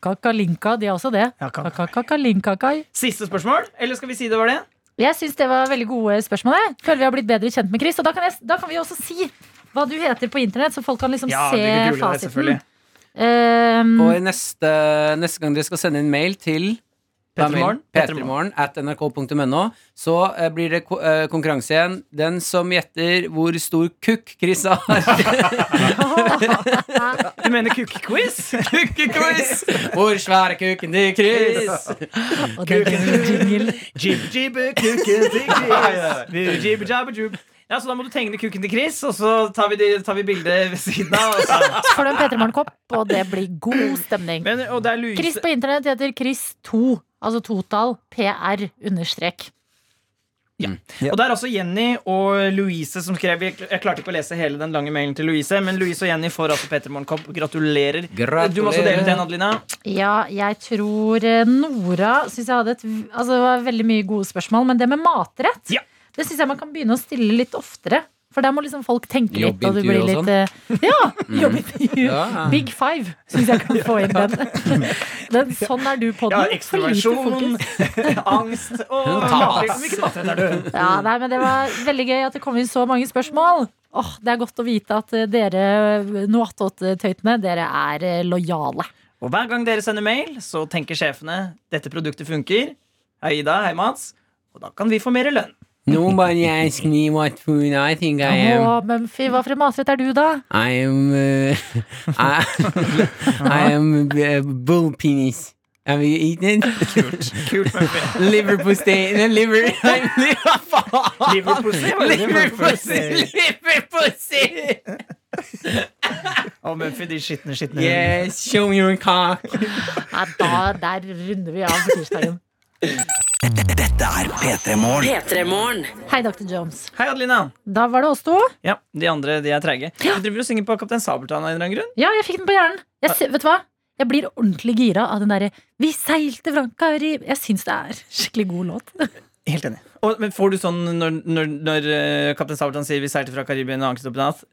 Speaker 4: Kakalinka, de er også det.
Speaker 2: Ja, kan-
Speaker 4: Kakalinkakaj.
Speaker 2: Siste spørsmål? Eller skal vi si det var det?
Speaker 4: Jeg syns det var veldig gode spørsmål. Jeg føler vi har blitt bedre kjent med Chris. Og da kan, jeg, da kan vi også si hva du heter på internett, så folk kan liksom
Speaker 2: Ja, det
Speaker 4: se
Speaker 2: blir gulere,
Speaker 4: fasiten.
Speaker 2: selvfølgelig.
Speaker 4: Ehm,
Speaker 3: Og i neste, neste gang dere skal sende inn mail til da er mailen
Speaker 2: Petremorgen.
Speaker 3: P3morgen at nrk.no, så eh, blir det ko eh, konkurranse igjen. Den som gjetter hvor stor kukk Chris har,
Speaker 2: Du mener kukk-quiz?
Speaker 3: Kukkequiz! Hvor svær er kukken til Chris?
Speaker 4: og det blir en jingle.
Speaker 2: eh, Ja, så da må du tegne kukken til Chris, og så tar vi, de- tar vi bildet ved siden av. Og så.
Speaker 4: Så får du en P3morgen-kopp, og det blir god stemning.
Speaker 2: Men, og det er
Speaker 4: Chris
Speaker 2: Louise
Speaker 4: på internett heter Chris2, altså total PR understrek.
Speaker 2: Og det er også Jenny og Louise som skrev Jeg jeg klarte ikke å lese hele den lange mailen til Louise, men Louise og Jenny får altså Petremorgen-kopp. Gratulerer.
Speaker 3: Gratulerer.
Speaker 2: Du må også dele ut den, Adelina.
Speaker 4: Ja, jeg tror eh, Nora synes jeg hadde et, altså Det var veldig mye gode spørsmål, men det med matrett
Speaker 2: Ja.
Speaker 4: Det synes jeg man kan begynne å stille litt oftere. For der må liksom folk tenke litt. Og du
Speaker 3: Jobbintervju
Speaker 4: blir
Speaker 3: og sånn. Mm.
Speaker 4: litt eh, Ja! Jobbintervju.
Speaker 3: Ja.
Speaker 4: Big five syns jeg kan få inn den. den sånn er du på
Speaker 2: Ja,
Speaker 4: den. For lite
Speaker 2: ekstroversjon,
Speaker 4: fokus.
Speaker 2: angst og
Speaker 3: tar
Speaker 2: matrett. Hvilken matrett er du?
Speaker 4: Ja, nei, men Det var veldig gøy at det kom inn så mange spørsmål. Åh, Det er godt å vite at eh, dere noe-attåt-tøytene, dere er eh, lojale.
Speaker 2: Og hver gang dere sender mail, så tenker sjefene dette produktet funker. Hei Ida, hei Mats. Og da kan vi få mer lønn.
Speaker 3: Nobody asked me what food I think I am.
Speaker 4: Åh, Mumphy, hva for en matrett er du, da?
Speaker 3: I am uh, I, I am uh, bull penis. Have you eaten it?
Speaker 2: Kult med
Speaker 3: liver pussy no, liver
Speaker 2: Liverpussy.
Speaker 3: liver pussy liver pussy.
Speaker 2: Og Mumphy, de skitne, skitne
Speaker 3: Yes, show me your cock.
Speaker 4: Nei, da, der runder vi av for tirsdagen.
Speaker 9: P3morgen.
Speaker 4: Hei, Dr. Jones.
Speaker 2: Hei, Adelina.
Speaker 4: Da var det oss to.
Speaker 2: Ja, De andre de er treige. Du driver og synger på Kaptein Sabeltann av en eller annen grunn.
Speaker 4: Ja, jeg fikk den på hjernen. Jeg, sy- vet du hva? Jeg blir ordentlig gira av den derre 'Vi seilte fra Karib'. Jeg syns det er skikkelig god låt.
Speaker 2: Helt enig. Og, men får du sånn når, når, når eh, Kaptein Sabeltann sier 'vi seilte fra Karibien og ankret opp i natt',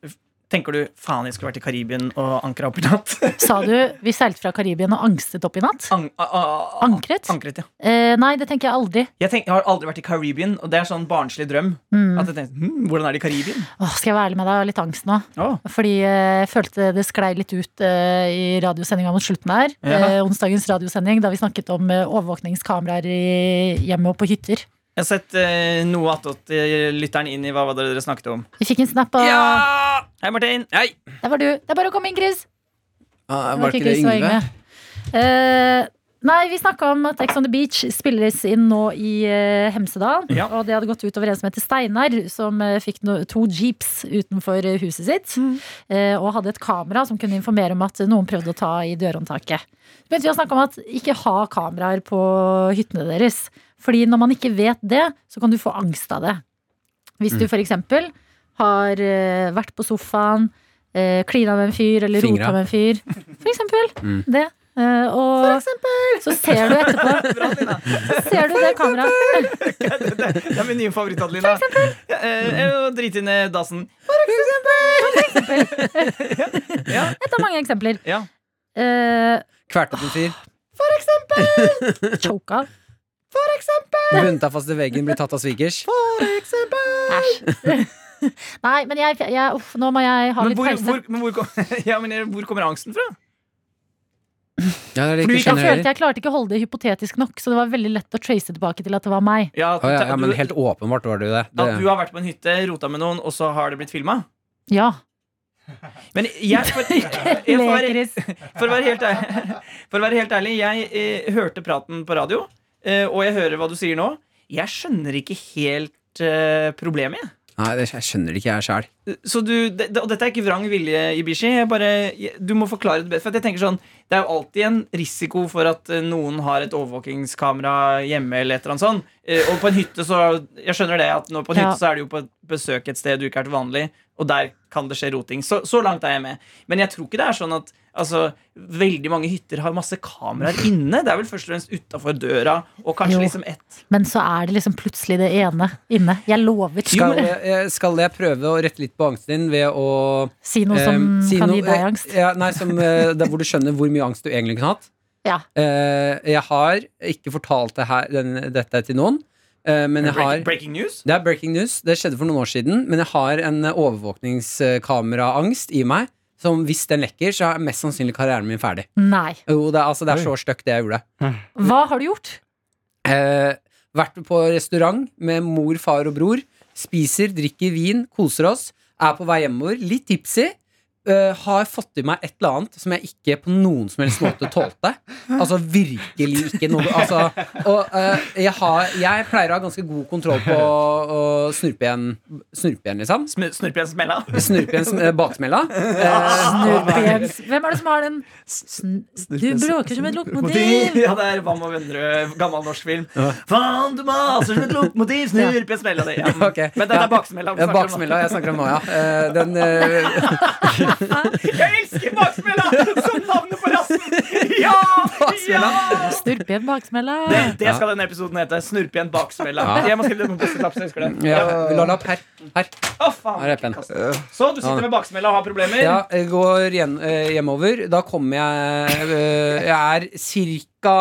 Speaker 2: tenker du 'faen, jeg skulle vært i Karibien og ankra opp i natt'?
Speaker 4: Sa du 'Vi seilte fra Karibien og angstet opp i natt'?
Speaker 2: Ang, a, a,
Speaker 4: Ankret?
Speaker 2: ankret, ja.
Speaker 4: Eh, nei, det tenker jeg aldri.
Speaker 2: Jeg, tenk, jeg har aldri vært i Karibien, og det er sånn barnslig drøm. At jeg tenkte, hm, Hvordan er det i Karibien?
Speaker 4: Åh, skal jeg være ærlig med deg, jeg har litt angst nå. Fordi eh, jeg følte det sklei litt ut eh, i radiosendinga mot slutten her.
Speaker 2: Ja.
Speaker 4: Eh, onsdagens radiosending da vi snakket om eh, overvåkningskameraer i hjemmet og på hytter.
Speaker 2: Jeg har sett eh, noe attåt eh, lytteren inn i hva var det dere snakket om.
Speaker 4: Vi fikk en snap av
Speaker 2: Hei, Martin.
Speaker 4: Der var du. Det er bare å komme inn, Chris.
Speaker 3: Ah,
Speaker 4: Det
Speaker 3: var ikke det
Speaker 4: Chris, det var
Speaker 3: Yngve?
Speaker 4: Eh, nei, vi snakka om at Ex on the Beach spilles inn nå i eh, Hemsedal.
Speaker 2: Ja.
Speaker 4: Og det hadde gått ut over en som heter Steinar, som eh, fikk no to jeeps utenfor eh, huset sitt.
Speaker 3: Mm.
Speaker 4: eh, og hadde et kamera som kunne informere om at noen prøvde å ta i dørhåndtaket. Så begynte vi å snakke om at ikke ha kameraer på hyttene deres. Fordi når man ikke vet det, så kan du få angst av det. Hvis
Speaker 3: Mm.
Speaker 4: du f.eks. har eh, vært på sofaen, eh, klina med en fyr eller
Speaker 3: Fingra. Mm.
Speaker 4: rota med en fyr. For eksempel. Det. Eh, og så ser du etterpå
Speaker 2: Bra, Lina.
Speaker 4: så ser du det kameraet.
Speaker 2: Det er min nye favoritt, Adelina. Ja, eh, Drit i ned dassen.
Speaker 4: Et av mange eksempler.
Speaker 2: Ja.
Speaker 4: Eh,
Speaker 3: Kvert opp en fyr.
Speaker 4: choka.
Speaker 3: Bundet deg fast i veggen, blir tatt av svigers.
Speaker 4: Æsj. Nei, men jeg, jeg uff, Nå må jeg ha
Speaker 2: Men
Speaker 4: litt
Speaker 2: hvor,
Speaker 4: pause.
Speaker 2: hvor, men hvor, kom- ja, men eh, hvor kommer angsten fra?
Speaker 3: Ja, det er det
Speaker 4: Fordi
Speaker 3: ikke
Speaker 4: jeg, følte,
Speaker 3: skjønner
Speaker 4: jeg klarte ikke å holde det hypotetisk nok, så det var veldig lett å trace tilbake til at det var meg.
Speaker 2: Ja, at,
Speaker 3: Å, ja, ja, men
Speaker 2: du,
Speaker 3: helt eh. åpenbart var det jo det.
Speaker 2: at du
Speaker 3: det.
Speaker 2: har vært på en hytte, rota med noen, og så har det blitt filma?
Speaker 4: Ja.
Speaker 2: Men jeg, for, jeg, for, å være, for, å være helt ærlig, for å være helt ærlig, jeg eh, hørte praten på radio, eh, og jeg hører hva du sier nå. Jeg skjønner ikke helt eh, problemet, jeg.
Speaker 3: Nei, det, jeg skjønner det ikke jeg sjæl.
Speaker 2: Så du, det, det- og dette er ikke vrang vilje, Ibishi. Jeg bare, jeg, du må forklare det bedre. For at jeg tenker sånn, Det er jo alltid en risiko for at eh, noen har et overvåkingskamera hjemme. eller et eller annet sånt. Eh, Og på en hytte så jeg skjønner det at nå på en
Speaker 4: Ja.
Speaker 2: hytte så er du jo på et besøk et sted du ikke er til vanlig, og der kan det skje roting. Så, så langt er jeg med. Men jeg tror ikke det er sånn at altså, veldig mange hytter har masse kameraer inne. Det er vel først og fremst utafor døra, og kanskje
Speaker 4: Jo.
Speaker 2: liksom ett.
Speaker 4: Men så er det liksom plutselig det ene inne. Jeg lover.
Speaker 3: Skal, jeg- skal jeg prøve å rette litt på angsten din ved å
Speaker 4: Si noe som
Speaker 3: eh, si
Speaker 4: kan
Speaker 3: noe-
Speaker 4: gi deg angst.
Speaker 3: Ja, nei, som, eh, der hvor du skjønner hvor mye angst du egentlig kunne hatt.
Speaker 4: Ja.
Speaker 3: Eh, jeg har ikke fortalt det her, den, dette til noen, eh, men jeg har
Speaker 2: Breaking, breaking news?
Speaker 3: Det er breaking news. Det skjedde for noen år siden. Men jeg har en eh, overvåkningskameraangst i meg. Som hvis den lekker, så er mest sannsynlig karrieren min ferdig.
Speaker 4: Nei.
Speaker 3: Jo, det, er- altså, det er så støkk det jeg gjorde.
Speaker 4: Hva har du gjort?
Speaker 3: Eh, vært på restaurant med mor, far og bror. Spiser, drikker vin, koser oss. Er på vei hjemover, litt tipsy. eh, har fått i meg et eller annet som jeg ikke på noen som helst måte tålte. Altså virkelig ikke noe altså, Og eh, jeg, har, jeg pleier å ha ganske god kontroll på å, å snurpe igjen, snurpe igjen, liksom.
Speaker 2: Sm- Snurp igjen smella?
Speaker 3: Snurpe igjen sm- eh, baksmella. Eh,
Speaker 4: Snurpejens. Hvem er det som har den? Sn du bråker som et lokomotiv.
Speaker 2: Ja, det er Vam og Vennerød, gammel norsk film. Faen, du maser som et lokomotiv, snurp jeg smella di. Ja, men-
Speaker 3: Ok.
Speaker 2: Men det
Speaker 3: Ja.
Speaker 2: er baksmella. vi
Speaker 3: eh,
Speaker 2: snakker om nå.
Speaker 3: baksmella, jeg snakker om Maya. Eh, den eh,
Speaker 2: Jeg elsker baksmella som navnet på rassen! Ja!
Speaker 3: Baksmella.
Speaker 2: ja!
Speaker 4: Snurpe igjen baksmella.
Speaker 2: Det, det skal denne episoden hete. Snurp igjen baksmella.
Speaker 3: Ja.
Speaker 2: Jeg må skrive det på postetapp, så jeg husker det.
Speaker 3: ja, vi lar den opp her. her.
Speaker 2: Å, faen.
Speaker 3: Her er pennen.
Speaker 2: Så du sitter med baksmella og har problemer?
Speaker 3: Ja, jeg går hjem, eh, hjemover. Da kommer jeg eh, Jeg er ca.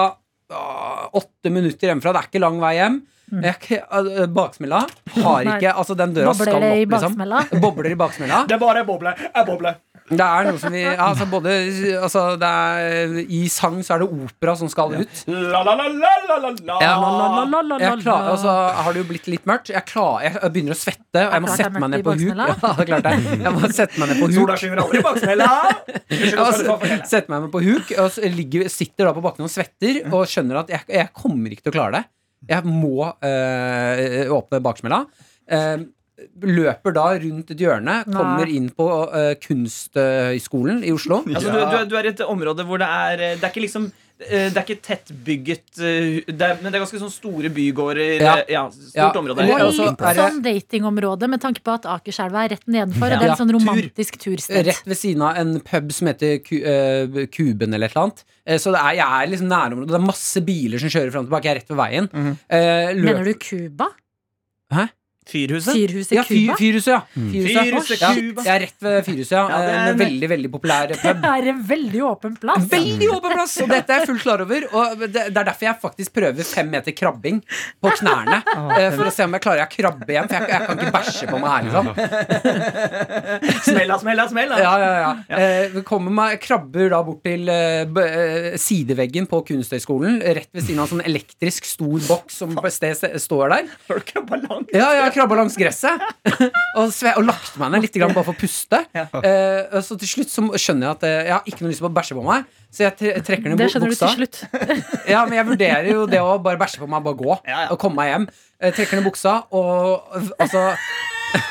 Speaker 3: åtte minutter hjemmefra. Det er ikke lang vei hjem. Jeg, er ikke- eh, baksmella har
Speaker 4: Mm. Nei.
Speaker 3: ikke Altså, den døra skal
Speaker 4: Bobler
Speaker 3: opp,
Speaker 4: det i
Speaker 3: liksom.
Speaker 4: baksmella?
Speaker 3: Bobler i baksmella.
Speaker 2: Det er bare boble. Jeg boble.
Speaker 3: Det er noe som vi Altså, både altså, det er, I sang så er det opera som skal ut.
Speaker 2: La, la, la, la, la, la, la.
Speaker 3: Ja.
Speaker 4: La-la-la-la-la-la.
Speaker 3: Jeg klar, altså, har det jo blitt litt mørkt. Jeg, klar, jeg begynner å svette, og jeg må
Speaker 4: klart det er
Speaker 3: sette meg
Speaker 4: mørkt
Speaker 3: ned
Speaker 4: i
Speaker 3: på huk.
Speaker 4: baksmella.
Speaker 3: Ja, det er klart det. Jeg må sette meg ned på huk.
Speaker 2: Sola skinner aldri i baksmella. Unnskyld, nå skal
Speaker 3: Ja,
Speaker 2: du få
Speaker 3: altså,
Speaker 2: fortelle.
Speaker 3: Setter meg med på huk og så ligger, sitter da på bakken og svetter og skjønner at jeg, jeg kommer ikke til å klare det. Jeg må eh, åpne baksmella. Eh, løper da rundt et hjørne, kommer inn på eh, Kunsthøgskolen i Oslo.
Speaker 2: Altså, du, du, er- du er i et område hvor det er eh, Det er ikke liksom eh, det er ikke tettbygget, eh, det er- men det er ganske sånn store bygårder.
Speaker 3: Ja.
Speaker 2: eh, Ja, stort
Speaker 3: Ja.
Speaker 2: område.
Speaker 3: Eller-
Speaker 4: Og
Speaker 3: også
Speaker 4: litt
Speaker 3: altså, er det-
Speaker 4: sånn datingområde, med tanke på at Akerselva er rett nedenfor. Og det er
Speaker 3: Ja.
Speaker 4: en sånn
Speaker 3: Tur.
Speaker 4: romantisk tursted.
Speaker 3: Rett ved siden av en pub som heter Ku- eh, Kuben eller et eller annet. Eh, Så det er, jeg er liksom nærområdet. Det er
Speaker 2: Mhm.
Speaker 3: masse biler som kjører fram og tilbake. Jeg er rett ved veien. Eh, løp-
Speaker 4: Mener du Cuba?
Speaker 3: Hæ?
Speaker 2: Fyrhuset?
Speaker 4: Fyrhuset
Speaker 3: Ja, fyr,
Speaker 4: Cuba.
Speaker 3: Fyrhuset, ja. Fyrhuset.
Speaker 2: Mm. Fyrhuset
Speaker 3: ja.
Speaker 2: Cuba.
Speaker 3: Jeg er rett ved Fyrhuset, ja.
Speaker 2: Ja, det er
Speaker 3: En
Speaker 2: en-
Speaker 3: veldig, veldig populær pub.
Speaker 4: Det er en veldig åpen plass.
Speaker 3: Veldig åpen plass, og dette er jeg fullt klar over. Og det, det er derfor jeg faktisk prøver fem meter krabbing på knærne. eh, For å se om jeg klarer å krabbe igjen, for jeg, jeg kan ikke bæsje på meg her. Liksom.
Speaker 2: Smella, smella, smella!
Speaker 3: Ja, ja, ja. Eh, vi kommer meg, krabber da bort til eh, b eh, sideveggen på Kunsthøgskolen, rett ved siden av en sånn elektrisk stor boks som på sted st- står der.
Speaker 2: Har du ikke balanse?
Speaker 3: Ja, jeg krabba langs gresset og, sve, og lagt meg ned litt grann bare for å puste.
Speaker 2: Ja.
Speaker 3: Eh, og så til slutt så skjønner jeg at eh, jeg har ikke noe lyst på å bæsje på meg, så jeg tre- trekker ned
Speaker 4: Det
Speaker 3: bu-
Speaker 4: skjønner du
Speaker 3: buksa.
Speaker 4: til slutt.
Speaker 3: Ja, men jeg vurderer jo det å bare bæsje på meg, bare gå
Speaker 2: Ja, ja.
Speaker 3: og komme meg hjem. Jeg trekker ned buksa, og altså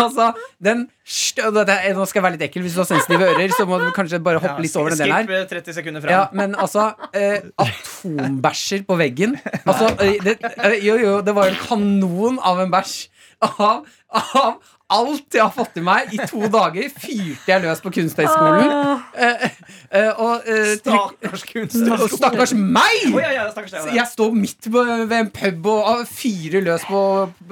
Speaker 3: Altså, den stø- dette er- Nå skal jeg være litt ekkel. Hvis du har sensitive ører, så må du kanskje bare hoppe litt over den delen her.
Speaker 2: Skip eh, 30 sekunder fram.
Speaker 3: Ja, men altså eh, Atombæsjer på veggen. Altså, eh, det, eh, jo, jo, det var jo en kanon av en bæsj. Av, av alt jeg har fått i meg i to dager, fyrte jeg løs på Kunsthøgskolen. Eh, eh, og eh, trykk,
Speaker 2: Stakkars
Speaker 3: og
Speaker 2: kunstner.
Speaker 3: stakkars meg!
Speaker 2: Å, ja, ja, stakkars deg,
Speaker 3: Så
Speaker 2: ja.
Speaker 3: Jeg står midt på, ved en pub og og fyrer løs på,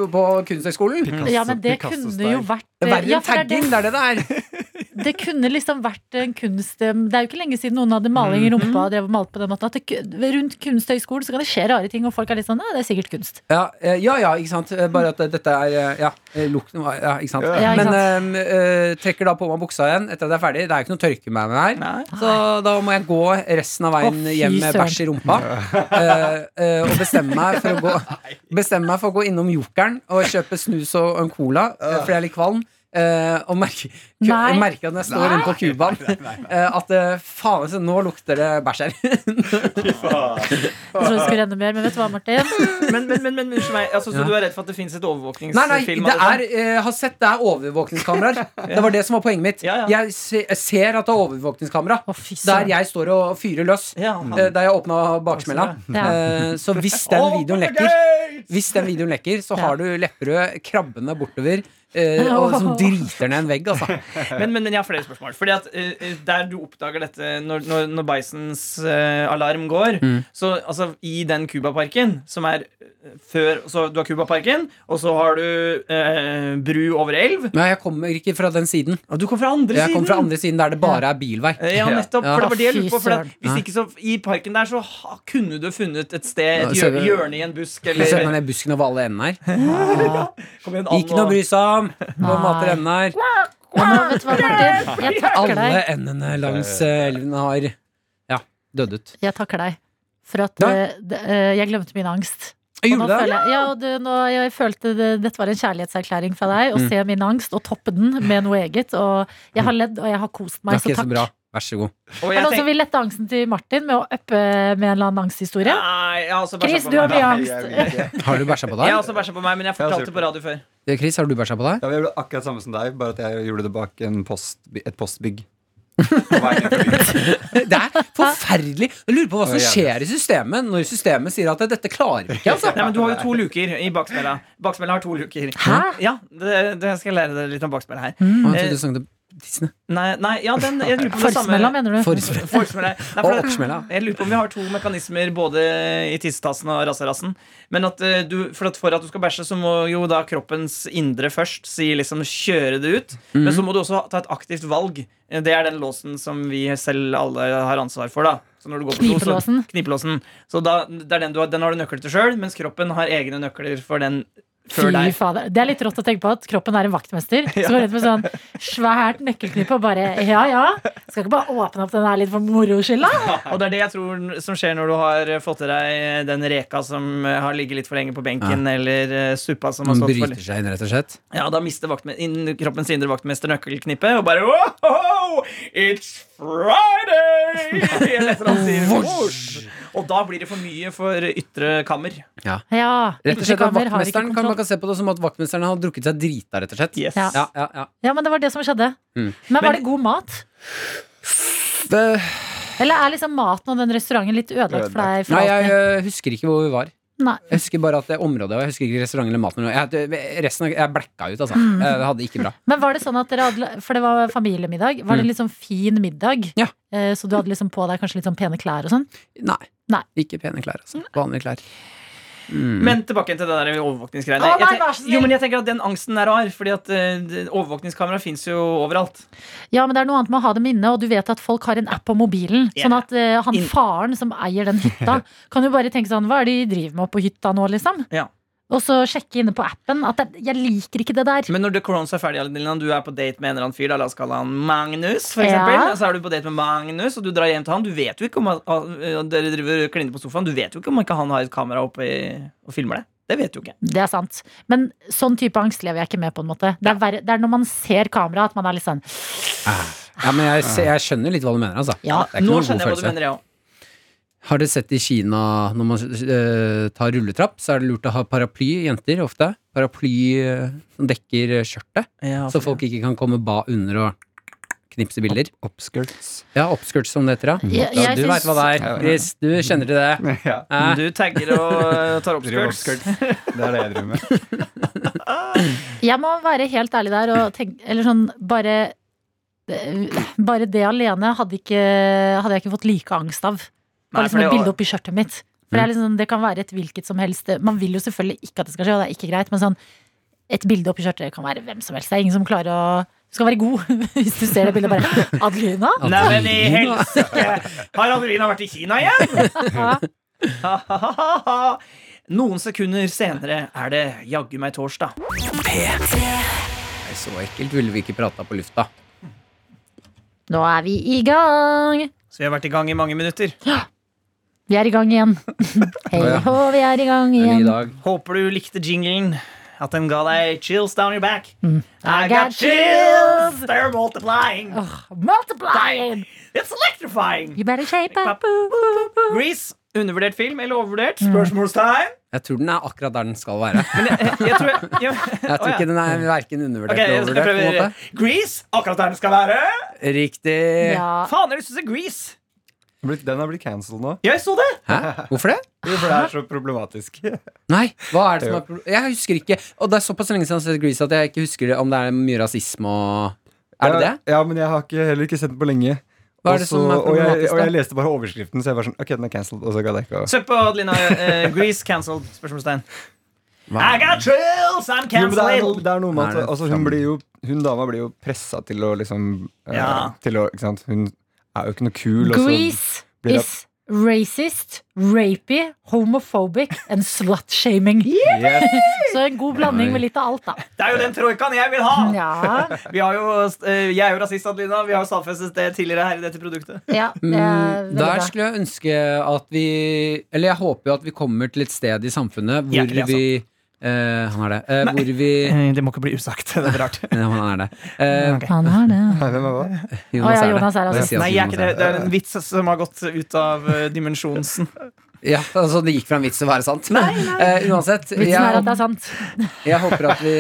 Speaker 3: på, på Kunsthøgskolen.
Speaker 4: Ja, men det
Speaker 5: Picasso-style.
Speaker 4: kunne jo vært eh,
Speaker 3: Det er verre
Speaker 4: Mm. ja,
Speaker 3: enn
Speaker 4: for det er det-
Speaker 3: tagging. Det er det det er.
Speaker 4: Det kunne liksom vært en kunst Det er jo ikke lenge siden noen hadde maling i rumpa og drev og malte på den måten. At det, ku- rundt Kunsthøgskolen så kan det skje rare ting, og folk er litt sånn Ja, det er sikkert kunst.
Speaker 3: Ja, eh, ja, ja, ikke sant. Eh, Bare at eh, dette er eh, Ja, eh, lukten var Ja, ikke sant.
Speaker 4: Ja, ikke
Speaker 3: Men
Speaker 4: sant.
Speaker 3: eh, eh, trekker da på meg buksa igjen etter at jeg er ferdig. Det er jo ikke noe tørke med meg her.
Speaker 2: Nei.
Speaker 3: Så da må jeg gå resten av veien
Speaker 4: Å, fy
Speaker 3: hjem med
Speaker 4: søren.
Speaker 3: bæsj i rumpa. eh, eh, og bestemme meg for å gå Bestemme meg for å gå innom Jokeren og kjøpe snus og en cola, eh, fordi jeg er litt kvalm. eh, og merker
Speaker 4: Nei.
Speaker 3: merker at når jeg står rundt på Cubaen, eh, at eh, faen, så nå lukter det bæsj her.
Speaker 4: Jeg trodde det skulle renne mer, men vet du hva, Martin?
Speaker 2: Men, men, men, men unnskyld meg, altså, så
Speaker 3: Ja.
Speaker 2: du er redd for at det fins et overvåkningsfilm?
Speaker 3: Nei, nei, det
Speaker 2: av
Speaker 3: er,
Speaker 2: sånn?
Speaker 3: eh, jeg har sett det er overvåkningskameraer. Det var det som var poenget mitt.
Speaker 2: Ja, ja.
Speaker 3: Jeg, se, jeg ser at det er overvåkningskamera
Speaker 4: Å, fy
Speaker 3: der
Speaker 4: søren.
Speaker 3: jeg står og fyrer løs.
Speaker 2: ja,
Speaker 3: eh, Der jeg åpna baksmella.
Speaker 4: Ja.
Speaker 3: Eh, Så hvis den videoen lekker, Hvis den videoen lekker, så
Speaker 4: Ja.
Speaker 3: har du Lepperød krabbene bortover eh, og som driter ned en vegg, altså.
Speaker 2: Men, men, men jeg har flere spørsmål. Fordi at eh, eh, Der du oppdager dette når, når, når Bisons eh, alarm går
Speaker 3: Mm.
Speaker 2: Så altså, I den Cubaparken som er eh, før Så du har Cubaparken, og så har du eh, bru over elv.
Speaker 3: Nei, jeg kommer ikke fra den siden.
Speaker 2: Og du kom fra andre
Speaker 3: Jeg
Speaker 2: siden!
Speaker 3: kommer fra andre siden der det bare er bilvei.
Speaker 2: Eh, Ja, nettopp.
Speaker 3: Ja.
Speaker 2: For det var det jeg lurte på. For at,
Speaker 4: Fy
Speaker 2: hvis ikke så I parken der så ha, kunne du funnet et sted,
Speaker 3: Ja,
Speaker 2: et
Speaker 3: så-
Speaker 2: hjør- hjørne i en busk
Speaker 3: Jeg ser meg
Speaker 2: eller
Speaker 3: ned i busken over alle endene her.
Speaker 2: Kom igjen,
Speaker 3: Ikke noe å bry seg om! Nå mater endene her.
Speaker 4: Men nå, vet du hva, Martin? Jeg takker
Speaker 3: Alle
Speaker 4: deg.
Speaker 3: endene langs eh, elven har ja, dødd ut.
Speaker 4: Jeg takker deg. For at
Speaker 3: Nei.
Speaker 4: eh, det- eh, jeg glemte min angst.
Speaker 3: Jeg
Speaker 4: Og
Speaker 3: gjorde
Speaker 4: nå
Speaker 3: det.
Speaker 4: føler jeg, ja, og du, nå, jeg følte det, dette var en kjærlighetserklæring fra
Speaker 3: Mm.
Speaker 4: deg. Å se min angst og toppe den med noe eget. Og jeg har ledd, og jeg har kost
Speaker 3: Det
Speaker 4: meg.
Speaker 3: er
Speaker 4: Så
Speaker 3: ikke så bra.
Speaker 4: takk.
Speaker 3: Vær så god.
Speaker 2: Og jeg
Speaker 4: Er det noen som
Speaker 2: tenker,
Speaker 4: vil lette angsten til Martin med å uppe med en eller annen angsthistorie?
Speaker 2: Nei, jeg har også bæsja
Speaker 4: Chris,
Speaker 2: på
Speaker 4: du har
Speaker 2: meg.
Speaker 4: mye
Speaker 5: Nei, jeg vil
Speaker 4: angst.
Speaker 5: ikke.
Speaker 3: Har du bæsja på
Speaker 2: Jeg har
Speaker 3: deg?
Speaker 2: også bæsja på meg, men jeg
Speaker 5: har også
Speaker 2: fortalte
Speaker 5: gjort
Speaker 2: det på radio før.
Speaker 3: Eh, Chris, har du bæsja på deg?
Speaker 5: Ja, men jeg gjorde akkurat samme som deg, bare at jeg gjorde det bak en post, et postbygg. På vei ned forbi.
Speaker 3: Det er forferdelig! Jeg lurer på hva som
Speaker 5: Det er
Speaker 3: skjer i systemet når systemet sier at dette klarer vi ikke. altså
Speaker 2: Nei, men Du har jo to luker i baksmella. Baksmella har to luker.
Speaker 4: Hæ? Mm.
Speaker 2: Ja, det, det skal jeg lære deg litt om baksmella her.
Speaker 3: Å, jeg
Speaker 2: Eh,
Speaker 3: trodde du sang til tissene.
Speaker 2: Nei, nei ja, den, jeg lurer på om det samme
Speaker 4: Forsmella, mener du?
Speaker 3: Forspre-
Speaker 2: Forsmella. Nei,
Speaker 3: Og
Speaker 2: for det-
Speaker 3: oppsmella.
Speaker 2: Jeg lurer på om vi har to mekanismer både i tissetassen og rasserassen. Men at eh, du, for, at for at du skal bæsje, så må jo da kroppens indre først si liksom kjøre det ut. Men
Speaker 3: Mhm.
Speaker 2: så må du også ha- ta et aktivt valg. Eh, Det er den låsen som vi selv alle har ansvar for, da. Så når du går på do, så-
Speaker 4: Knipelåsen.
Speaker 2: Knipelåsen. Så da, det er den, du har, den har du nøkkel til sjøl, mens kroppen har egne nøkler for den før
Speaker 4: Fy
Speaker 2: deg.
Speaker 4: fader. Det er litt rått å tenke på at kroppen er en vaktmester. Så går rundt med sånn svært nøkkelknippe og bare ja, ja. Skal ikke bare åpne opp den her litt for moro skyld, da?
Speaker 2: Og det er det jeg tror som skjer når du har fått i deg den reka som har ligget litt for lenge på benken, eller eh, suppa som har
Speaker 3: Man
Speaker 2: stått for
Speaker 3: bryter seg inn, rett og slett.
Speaker 2: Ja, da mister vaktme- inn- kroppens indre vaktmester nøkkelknippet og bare Wow, it's Friday! Eller et eller annet sier, «Vosh!» Og da blir det for mye for ytre kammer.
Speaker 4: Ja.
Speaker 3: Rett og slett at
Speaker 4: ytterkammer har ikke
Speaker 3: vaktmesteren kan,
Speaker 4: kontroll.
Speaker 3: Man kan se på det som at vaktmesteren har drukket seg drita, rett og slett.
Speaker 2: Yes.
Speaker 4: Ja.
Speaker 3: Ja, ja, ja.
Speaker 4: Ja, men det var det som skjedde.
Speaker 3: Mm.
Speaker 4: Men var
Speaker 2: Men-
Speaker 4: det god mat?
Speaker 3: Det,
Speaker 4: Eller er liksom maten og den restauranten litt ødelagt for deg? For
Speaker 3: nei, jeg
Speaker 4: alltid?
Speaker 3: øh, husker ikke hvor vi var.
Speaker 4: Nei.
Speaker 3: Jeg husker bare at det området og Jeg husker ikke restaurant eller maten. Jeg, det- resten av, jeg blacka ut, altså.
Speaker 4: Mm.
Speaker 3: Jeg hadde det ikke bra.
Speaker 4: Men var det sånn at dere hadde For det var familiemiddag. Var det
Speaker 2: Mm.
Speaker 4: liksom fin middag?
Speaker 3: Ja.
Speaker 4: Eh, Så du hadde liksom på deg kanskje litt sånn pene klær og sånn?
Speaker 3: Nei.
Speaker 4: Nei.
Speaker 3: Ikke pene klær, altså. Vanlige klær.
Speaker 2: Men tilbake til det der overvåkningsgreiene.
Speaker 4: Å, nei,
Speaker 2: Jeg tenk-
Speaker 4: vær så snill.
Speaker 2: jo, men jeg tenker at Den angsten er rar, Fordi at eh, det- overvåkningskamera fins jo overalt.
Speaker 4: Ja, men det er noe annet med å ha dem inne, og du vet at folk har en app på mobilen.
Speaker 2: Ja.
Speaker 4: Sånn at eh, han
Speaker 2: Inn-
Speaker 4: faren som eier den hytta, kan jo bare tenke sånn Hva er det de driver med oppe på hytta nå, liksom?
Speaker 2: Ja.
Speaker 4: Og så sjekke inne på appen. At det, jeg liker ikke det der.
Speaker 2: Men når The Corones er ferdig, Adelina, du er på date med en eller annen fyr, da, la oss kalle han Magnus, for
Speaker 4: Ja.
Speaker 2: eksempel. Så er du på date med Magnus, og du drar hjem til han. Du vet jo ikke om han, ah, dere driver og kliner på sofaen. Du vet jo ikke om ikke han har et kamera oppe i, og filmer det. Det vet du ikke.
Speaker 4: Det er sant. Men sånn type angst lever jeg ikke med, på en måte. Det er, verre, det er når man ser kameraet, at man er litt sånn
Speaker 3: Ja, men jeg, se- jeg skjønner litt hva du mener, altså.
Speaker 4: Ja,
Speaker 3: Det er ikke
Speaker 2: Nå
Speaker 3: noen god
Speaker 2: skjønner jeg hva du
Speaker 3: følelse.
Speaker 2: mener, jeg òg.
Speaker 3: Har dere sett i Kina når man eh, tar rulletrapp, så er det lurt å ha paraply, jenter ofte. Paraply eh, som dekker eh, skjørtet, så folk ikke kan komme ba under og knipse bilder.
Speaker 5: Upskirts.
Speaker 3: Ja, oppskurt som det heter, ja.
Speaker 4: Jeg-
Speaker 3: ja
Speaker 4: jeg
Speaker 3: du
Speaker 4: syns-
Speaker 3: veit hva det er, Chris. Du kjenner til det.
Speaker 5: Ja.
Speaker 3: Eh,
Speaker 2: Du tagger og eh, tar opp
Speaker 5: Driver
Speaker 2: skirts.
Speaker 5: upskirts. Det er det jeg driver med.
Speaker 4: Jeg må være helt ærlig der og tenke Eller sånn bare eh, Bare det alene hadde, ikke, hadde jeg ikke fått like angst av.
Speaker 2: Nei,
Speaker 4: Bare liksom
Speaker 2: for
Speaker 4: et
Speaker 2: det-
Speaker 4: bilde oppi skjørtet mitt. For det, er liksom, det kan være et hvilket som helst eh, Man vil jo selvfølgelig ikke at det skal skje, og det er ikke greit, men sånn et bilde oppi skjørtet kan være hvem som helst. Det er ingen som klarer å Du skal være god hvis du ser det bildet og bare Adelina?
Speaker 2: Nei, men i helsike! Har Adelina vært i Kina igjen? Ha-ha-ha-ha. Noen sekunder senere er det jaggu meg torsdag.
Speaker 3: Nei, så ekkelt ville vi ikke prata på lufta.
Speaker 4: Nå er vi i gang!
Speaker 2: Så vi har vært i gang i mange minutter.
Speaker 4: Vi er i gang igjen. Hei
Speaker 5: Å, ja.
Speaker 4: hå, vi er i gang
Speaker 3: Det er en ny
Speaker 4: igjen.
Speaker 3: dag.
Speaker 2: Håper du likte jinglen. At den ga deg chills down your back. Mm. I
Speaker 4: got
Speaker 2: got chills! Oh. They're multiplying!
Speaker 4: Åh, multiplying!
Speaker 2: It's electrifying!
Speaker 4: You better shape up.
Speaker 2: Grease, undervurdert film eller overvurdert? Spørsmålstegn?
Speaker 3: Jeg tror den er akkurat der den skal være.
Speaker 2: Men jeg, jeg tror jeg, jeg,
Speaker 3: Jeg tror
Speaker 2: Å, ja.
Speaker 3: ikke den er verken undervurdert
Speaker 2: Ok, jeg
Speaker 3: eller
Speaker 2: skal
Speaker 3: overvurdert. på en
Speaker 2: prøve- Grease, akkurat der den skal være.
Speaker 3: måte. Riktig.
Speaker 4: Ja.
Speaker 2: Faen, jeg har lyst til å se Grease!
Speaker 5: Den har blitt- Den har blitt cancelled nå.
Speaker 2: Jeg så det!
Speaker 3: Hæ? Hvorfor det?
Speaker 5: Jo, For det er så problematisk.
Speaker 3: Nei, hva er det som er pro- Jeg husker ikke. Og det er såpass lenge siden jeg har sett Grease at jeg ikke husker om det er mye rasisme og Er det det?
Speaker 5: Ja, ja, men jeg har ikke, heller ikke sett den på lenge.
Speaker 3: Hva er det
Speaker 5: Også-
Speaker 3: som er
Speaker 5: og, jeg,
Speaker 3: problematisk,
Speaker 5: og jeg
Speaker 3: da?
Speaker 5: leste bare overskriften, så jeg var sånn Ok, den er cancelled. Og så ga jeg ikke å-
Speaker 2: Søk på Adelina. eh, Grease cancelled? Spørsmålstegn. I got chills! I'm
Speaker 5: Jo, men det, er, no-
Speaker 2: cancelled!
Speaker 5: det er noe med
Speaker 3: Er det
Speaker 5: at altså, hun,
Speaker 3: fram-
Speaker 5: blir jo, hun dama blir jo pressa til å liksom eh,
Speaker 2: Ja.
Speaker 5: til å, ikke sant? Hun er jo ikke noe kul. og så-
Speaker 4: Grease
Speaker 5: blir det-
Speaker 4: is racist, rapey, homophobic and slut-shaming.
Speaker 5: Yes.
Speaker 4: Så en god blanding med litt av alt, da.
Speaker 2: Det er jo den troikaen jeg vil ha!
Speaker 4: Ja,
Speaker 2: Vi har jo, eh, jeg er jo rasist, Adelina. Vi har jo stadfestet det tidligere her i dette produktet.
Speaker 4: ja det er
Speaker 3: Mm,
Speaker 4: veldig
Speaker 3: Der
Speaker 4: bra.
Speaker 3: skulle jeg ønske at vi Eller jeg håper jo at vi kommer til et sted i samfunnet hvor
Speaker 2: Hjertelig, altså.
Speaker 3: vi eh, Han er det. Eh, hvor vi
Speaker 2: Det må ikke bli usagt. Det er rart.
Speaker 3: Ja, Han er det. Eh,
Speaker 2: Ok.
Speaker 4: Han har det.
Speaker 5: Nei, hvem er hva?
Speaker 4: Å
Speaker 3: Jonas
Speaker 4: ja,
Speaker 3: er det.
Speaker 4: Jonas er altså- rasist.
Speaker 3: Jeg sier
Speaker 2: Nei,
Speaker 3: at
Speaker 2: jeg er ikke
Speaker 3: Jonas
Speaker 2: det.
Speaker 3: er
Speaker 2: det er en vits som har gått ut av eh, dimensjonsen.
Speaker 3: det. Ja, altså, det gikk fra en vits til å være sant. Eh, uansett.
Speaker 4: Vitsen
Speaker 3: jeg-
Speaker 4: er at det er sant.
Speaker 3: Jeg håper at vi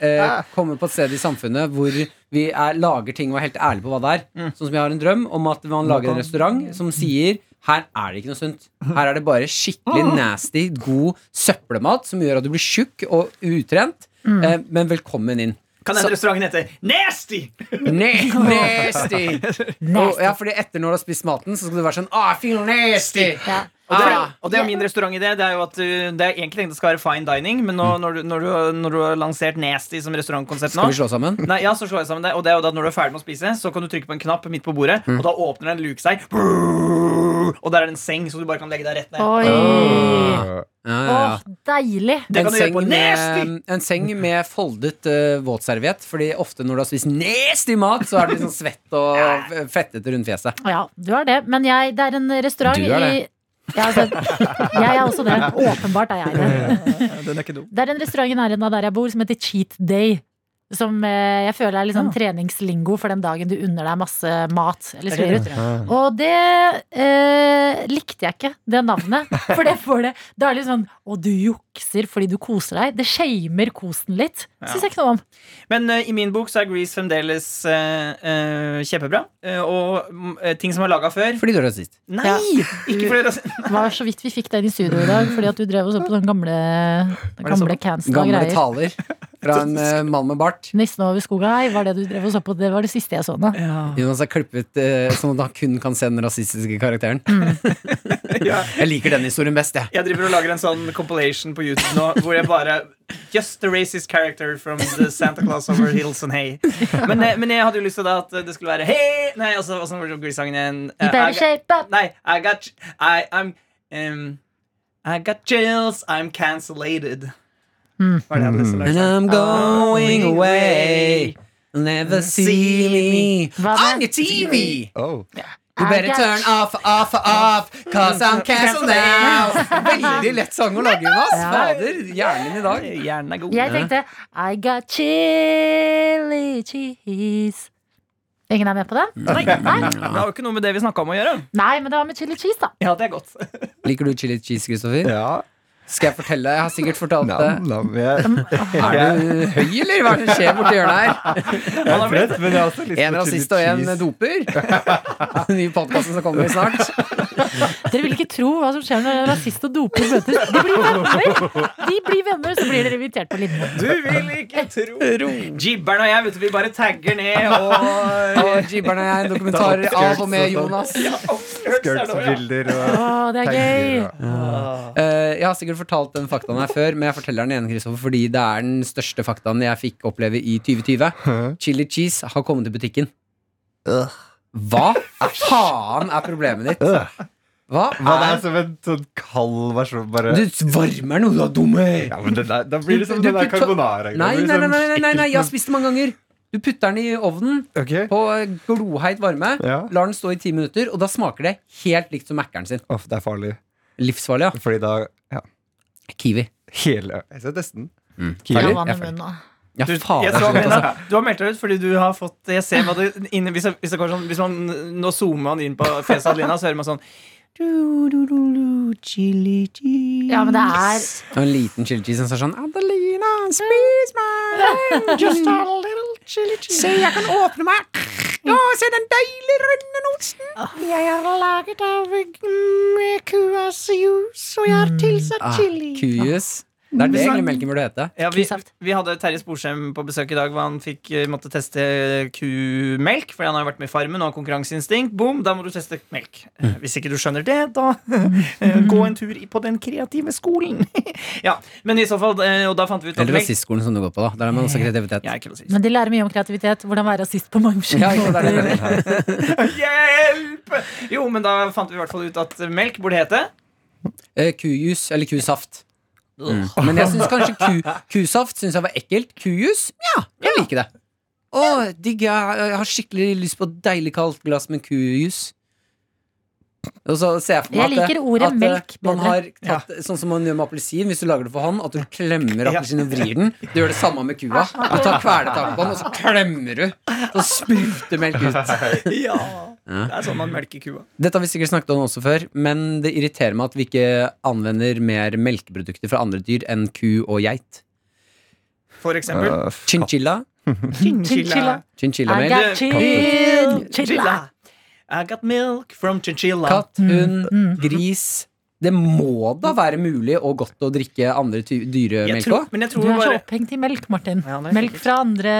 Speaker 3: eh, kommer på et sted i samfunnet hvor vi er, lager ting og er helt ærlige på hva det er. Sånn som jeg har en drøm om at man lager en restaurant som sier her er det ikke noe sunt. Her er det bare skikkelig nasty, god søppelmat som gjør at du blir tjukk og utrent. Eh, men velkommen inn.
Speaker 2: Kan den restauranten hete Nasty?
Speaker 3: Ne- Nasty! Og, ja, fordi etter når du har spist maten, så skal du være sånn ah, I feel nasty!
Speaker 4: Ja.
Speaker 2: Og det,
Speaker 3: Ah.
Speaker 2: er, og det er min restaurantidé. Det er jo at uh, det er egentlig tenkt at det skal være fine dining, men nå, når, du, når, du, når du har lansert Nasty som restaurantkonsept nå
Speaker 3: Skal vi slå sammen?
Speaker 2: Nei, ja, så slår jeg sammen det Og det er jo da at når du er ferdig med å spise, så kan du trykke på en knapp midt på bordet, og da åpner en luke seg. Og der er det en seng, så du bare kan legge deg rett ned.
Speaker 4: Oi.
Speaker 3: Ja, ja, ja.
Speaker 4: Åh, deilig.
Speaker 2: Det
Speaker 3: En
Speaker 2: kan du gjøre
Speaker 3: seng,
Speaker 2: på Nasty!
Speaker 3: med, en seng med foldet eh, våtserviett, Fordi ofte når du har spist nasty mat, så er det liksom svett og f- fettete rundt fjeset.
Speaker 4: Ja, du er det. Men jeg, det er en restaurant
Speaker 3: Du er det.
Speaker 4: i ja, altså, jeg er også det. Åpenbart er jeg det.
Speaker 2: Den er ikke dum.
Speaker 4: Det er en restaurant i nærheten av der jeg bor som heter Cheat Day. Som eh, jeg føler er litt
Speaker 2: Ah.
Speaker 4: sånn treningslingo for den dagen du unner deg masse mat. Eller
Speaker 2: Er det
Speaker 4: svir ut.
Speaker 5: Ah.
Speaker 4: Og det eh, likte jeg ikke, det navnet. For det får det Da er det litt sånn Å, du jukser fordi du koser deg. Det shamer kosen litt. Det syns jeg ikke noe om.
Speaker 2: Men eh, i min bok så er Grease fremdeles eh, eh, kjempebra. Eh, og mm, eh, ting som er laga før
Speaker 3: Fordi du er rasist.
Speaker 2: Nei!
Speaker 4: Ja.
Speaker 2: Ikke fordi det er-
Speaker 4: Det var så vidt vi fikk den i studio i dag, fordi at du drev og så på den gamle, den
Speaker 2: det så-
Speaker 4: gamle cancela
Speaker 3: Gamle
Speaker 4: greier.
Speaker 3: taler. fra en eh, mann med bart.
Speaker 4: Nissen over skoga hei, var det du drev og så på? Det var det siste jeg så nå.
Speaker 2: Ja.
Speaker 3: Jonas er klippet eh, sånn at han kun kan se den rasistiske karakteren.
Speaker 2: Ja.
Speaker 3: Jeg liker den historien best, jeg.
Speaker 2: Jeg driver og lager en sånn compilation på YouTube nå hvor jeg bare Just the racist character from the Santa Claus over hills and hay. Men, eh, men jeg hadde jo lyst til da at det skulle være hey! Nei, altså, hvordan var det gullsangen igjen?
Speaker 4: You
Speaker 2: Eh,
Speaker 4: better
Speaker 2: I got-
Speaker 4: shape up.
Speaker 2: Nei, I got ch- I, I'm um, I got chills, I'm cancellated.
Speaker 4: Hmm.
Speaker 2: Var det jeg hadde lyst til å
Speaker 3: And
Speaker 2: lage?
Speaker 3: I'm going away. Never see me
Speaker 4: Hva med-
Speaker 3: on your TV.
Speaker 5: Oh.
Speaker 3: You better
Speaker 4: I got-
Speaker 3: turn off, off, off, cause I'm canceled now. Veldig lett sang å lage, Jonas.
Speaker 4: Ja.
Speaker 3: Fader, hjernen din i dag.
Speaker 2: Hjernen er god.
Speaker 4: Jeg tenkte I got chili cheese. Ingen er med på det? Nei,
Speaker 2: Det har jo ikke noe med det vi snakka om å gjøre.
Speaker 4: Nei, men det var med chili cheese, da.
Speaker 2: Ja, det er godt.
Speaker 3: Liker du chili cheese, Kristoffer?
Speaker 5: Ja.
Speaker 3: Skal jeg fortelle deg? Jeg har sikkert fortalt det.
Speaker 5: Nam, nam. Jeg
Speaker 3: Er du høy, eller hva er det som skjer borti hjørnet her?
Speaker 5: jeg er trett, men jeg har også
Speaker 3: En
Speaker 5: lyst på chili
Speaker 3: rasist og en
Speaker 5: cheese.
Speaker 3: doper. Den nye podkasten som kommer snart.
Speaker 4: Dere vil ikke tro hva som skjer når en rasist og doper møtes. De blir venner, De blir venner, så blir dere invitert på liten.
Speaker 2: Du vil ikke tro Jibberen og jeg, vet du, vi bare tagger ned og
Speaker 3: Og Jibberen og jeg, dokumentarer av og
Speaker 5: sånn.
Speaker 3: med Jonas.
Speaker 5: Skirtsbilder og
Speaker 4: Å, det er gøy!
Speaker 5: tegninger. og-
Speaker 3: Eh, jeg har sikkert fortalt den faktaen her før, men jeg forteller den igjen, Kristoffer, fordi det er den største faktaen jeg fikk oppleve i 2020. Chili cheese har kommet i butikken. Hva faen er problemet ditt?
Speaker 5: Øh.
Speaker 3: Hva?
Speaker 5: Ja, det er som en sånn kald versjon, bare
Speaker 3: Du varmer noe, du er dum! Nei,
Speaker 5: Ja, men det liksom der, Da blir det som
Speaker 3: Du- du
Speaker 5: den der
Speaker 3: putter-
Speaker 5: carbonara.
Speaker 3: nei, nei, nei, nei, nei, nei, jeg har spist det mange ganger. Du putter den i ovnen
Speaker 5: Ok.
Speaker 3: på eh, gloheit varme,
Speaker 5: Ja.
Speaker 3: lar den stå i ti minutter, og da smaker det helt likt som Mækkern sin.
Speaker 5: Uff, det er farlig.
Speaker 3: Livsfarlig, ja.
Speaker 5: Fordi da ja,
Speaker 3: Kiwi.
Speaker 5: Hele Jeg skal teste den.
Speaker 4: Jeg
Speaker 3: Ferdig?
Speaker 4: har vann
Speaker 3: Jeg
Speaker 4: i
Speaker 3: er ferdig.
Speaker 4: munnen nå.
Speaker 3: Ja,
Speaker 2: du, jeg
Speaker 3: faen. det er
Speaker 2: så,
Speaker 3: så godt, altså.
Speaker 2: men, du har meldt deg ut fordi du har fått Jeg ser hva du inne, hvis, jeg, hvis, jeg går sånn, hvis man Nå zoomer man inn på fjeset til Lina, så hører man sånn du, du, du, du, chili cheese.
Speaker 4: Ja, men det er
Speaker 3: Og en liten chili cheese som sa sånn Adelina, spis meg! Just a little chili cheese. Se, jeg kan åpne meg. Å, se den deilige rødmen osten. Jeg er laget av mm, kuas jus, og jeg har tilsatt chili. Kujus. Det er Ah, sånn- det egentlig melken burde hete.
Speaker 2: Ja, vi,
Speaker 4: Kusaft.
Speaker 2: vi hadde Terje Sporsem på besøk i dag hvor han fikk, eh, måtte teste kumelk. Fordi han har jo vært med i Farmen og har konkurranseinstinkt. Boom, da må du teste melk. Eh, Hvis ikke du skjønner det, da eh, gå en tur i- på den kreative skolen. ja, men i så fall, eh, Og da fant vi ut at
Speaker 3: Eller
Speaker 2: melk
Speaker 3: rasistskolen som du går på, da. Der har man også kreativitet.
Speaker 2: Jeg er ikke rasist.
Speaker 4: Men de lærer mye om kreativitet. Hvordan være rasist på mange
Speaker 3: Ja, ikke sant, det er det jeg
Speaker 4: måter.
Speaker 3: mener.
Speaker 2: Hjelp! Jo, men da fant vi i hvert fall ut at melk burde hete
Speaker 3: Eh, Kujus, eller kusaft. Mm. Men jeg syns kanskje ku, kusaft synes jeg var ekkelt. Kujus, ja, jeg liker det. Å, digg. Jeg, jeg har skikkelig lyst på et deilig kaldt glass med kujus. Og så ser jeg for meg
Speaker 4: Jeg
Speaker 3: at-
Speaker 4: liker ordet
Speaker 3: at, eh,
Speaker 4: melk
Speaker 3: man
Speaker 4: bedre.
Speaker 3: har tatt, Sånn som man gjør med appelsin, hvis du lager det for hånd, at du klemmer appelsinen og vrir den. Du gjør det samme med kua. Du tar kvelertak på den, og så klemmer du. Så spruter melk ut.
Speaker 2: Ja. Det er sånn man melker kua.
Speaker 3: Dette har vi sikkert snakket om også før, men det irriterer meg at vi ikke anvender mer melkeprodukter fra andre dyr enn ku og geit.
Speaker 2: For eksempel.
Speaker 5: Øh, f-
Speaker 3: Chinchilla.
Speaker 2: Chinchilla. Eh,
Speaker 3: Chinchilla
Speaker 4: I
Speaker 3: mail.
Speaker 4: got chill, chilla.
Speaker 2: I got milk from chinchilla.
Speaker 3: Katt, hund, gris. Det må da være mulig og godt å drikke andre ty-
Speaker 2: Jeg
Speaker 3: dyremelk
Speaker 2: tror,
Speaker 3: òg?
Speaker 2: men jeg
Speaker 4: Du
Speaker 2: tror
Speaker 4: er så
Speaker 2: bare
Speaker 4: opphengt i melk, Martin.
Speaker 2: Ja, det er
Speaker 4: Melk
Speaker 2: sikkert.
Speaker 4: fra andre,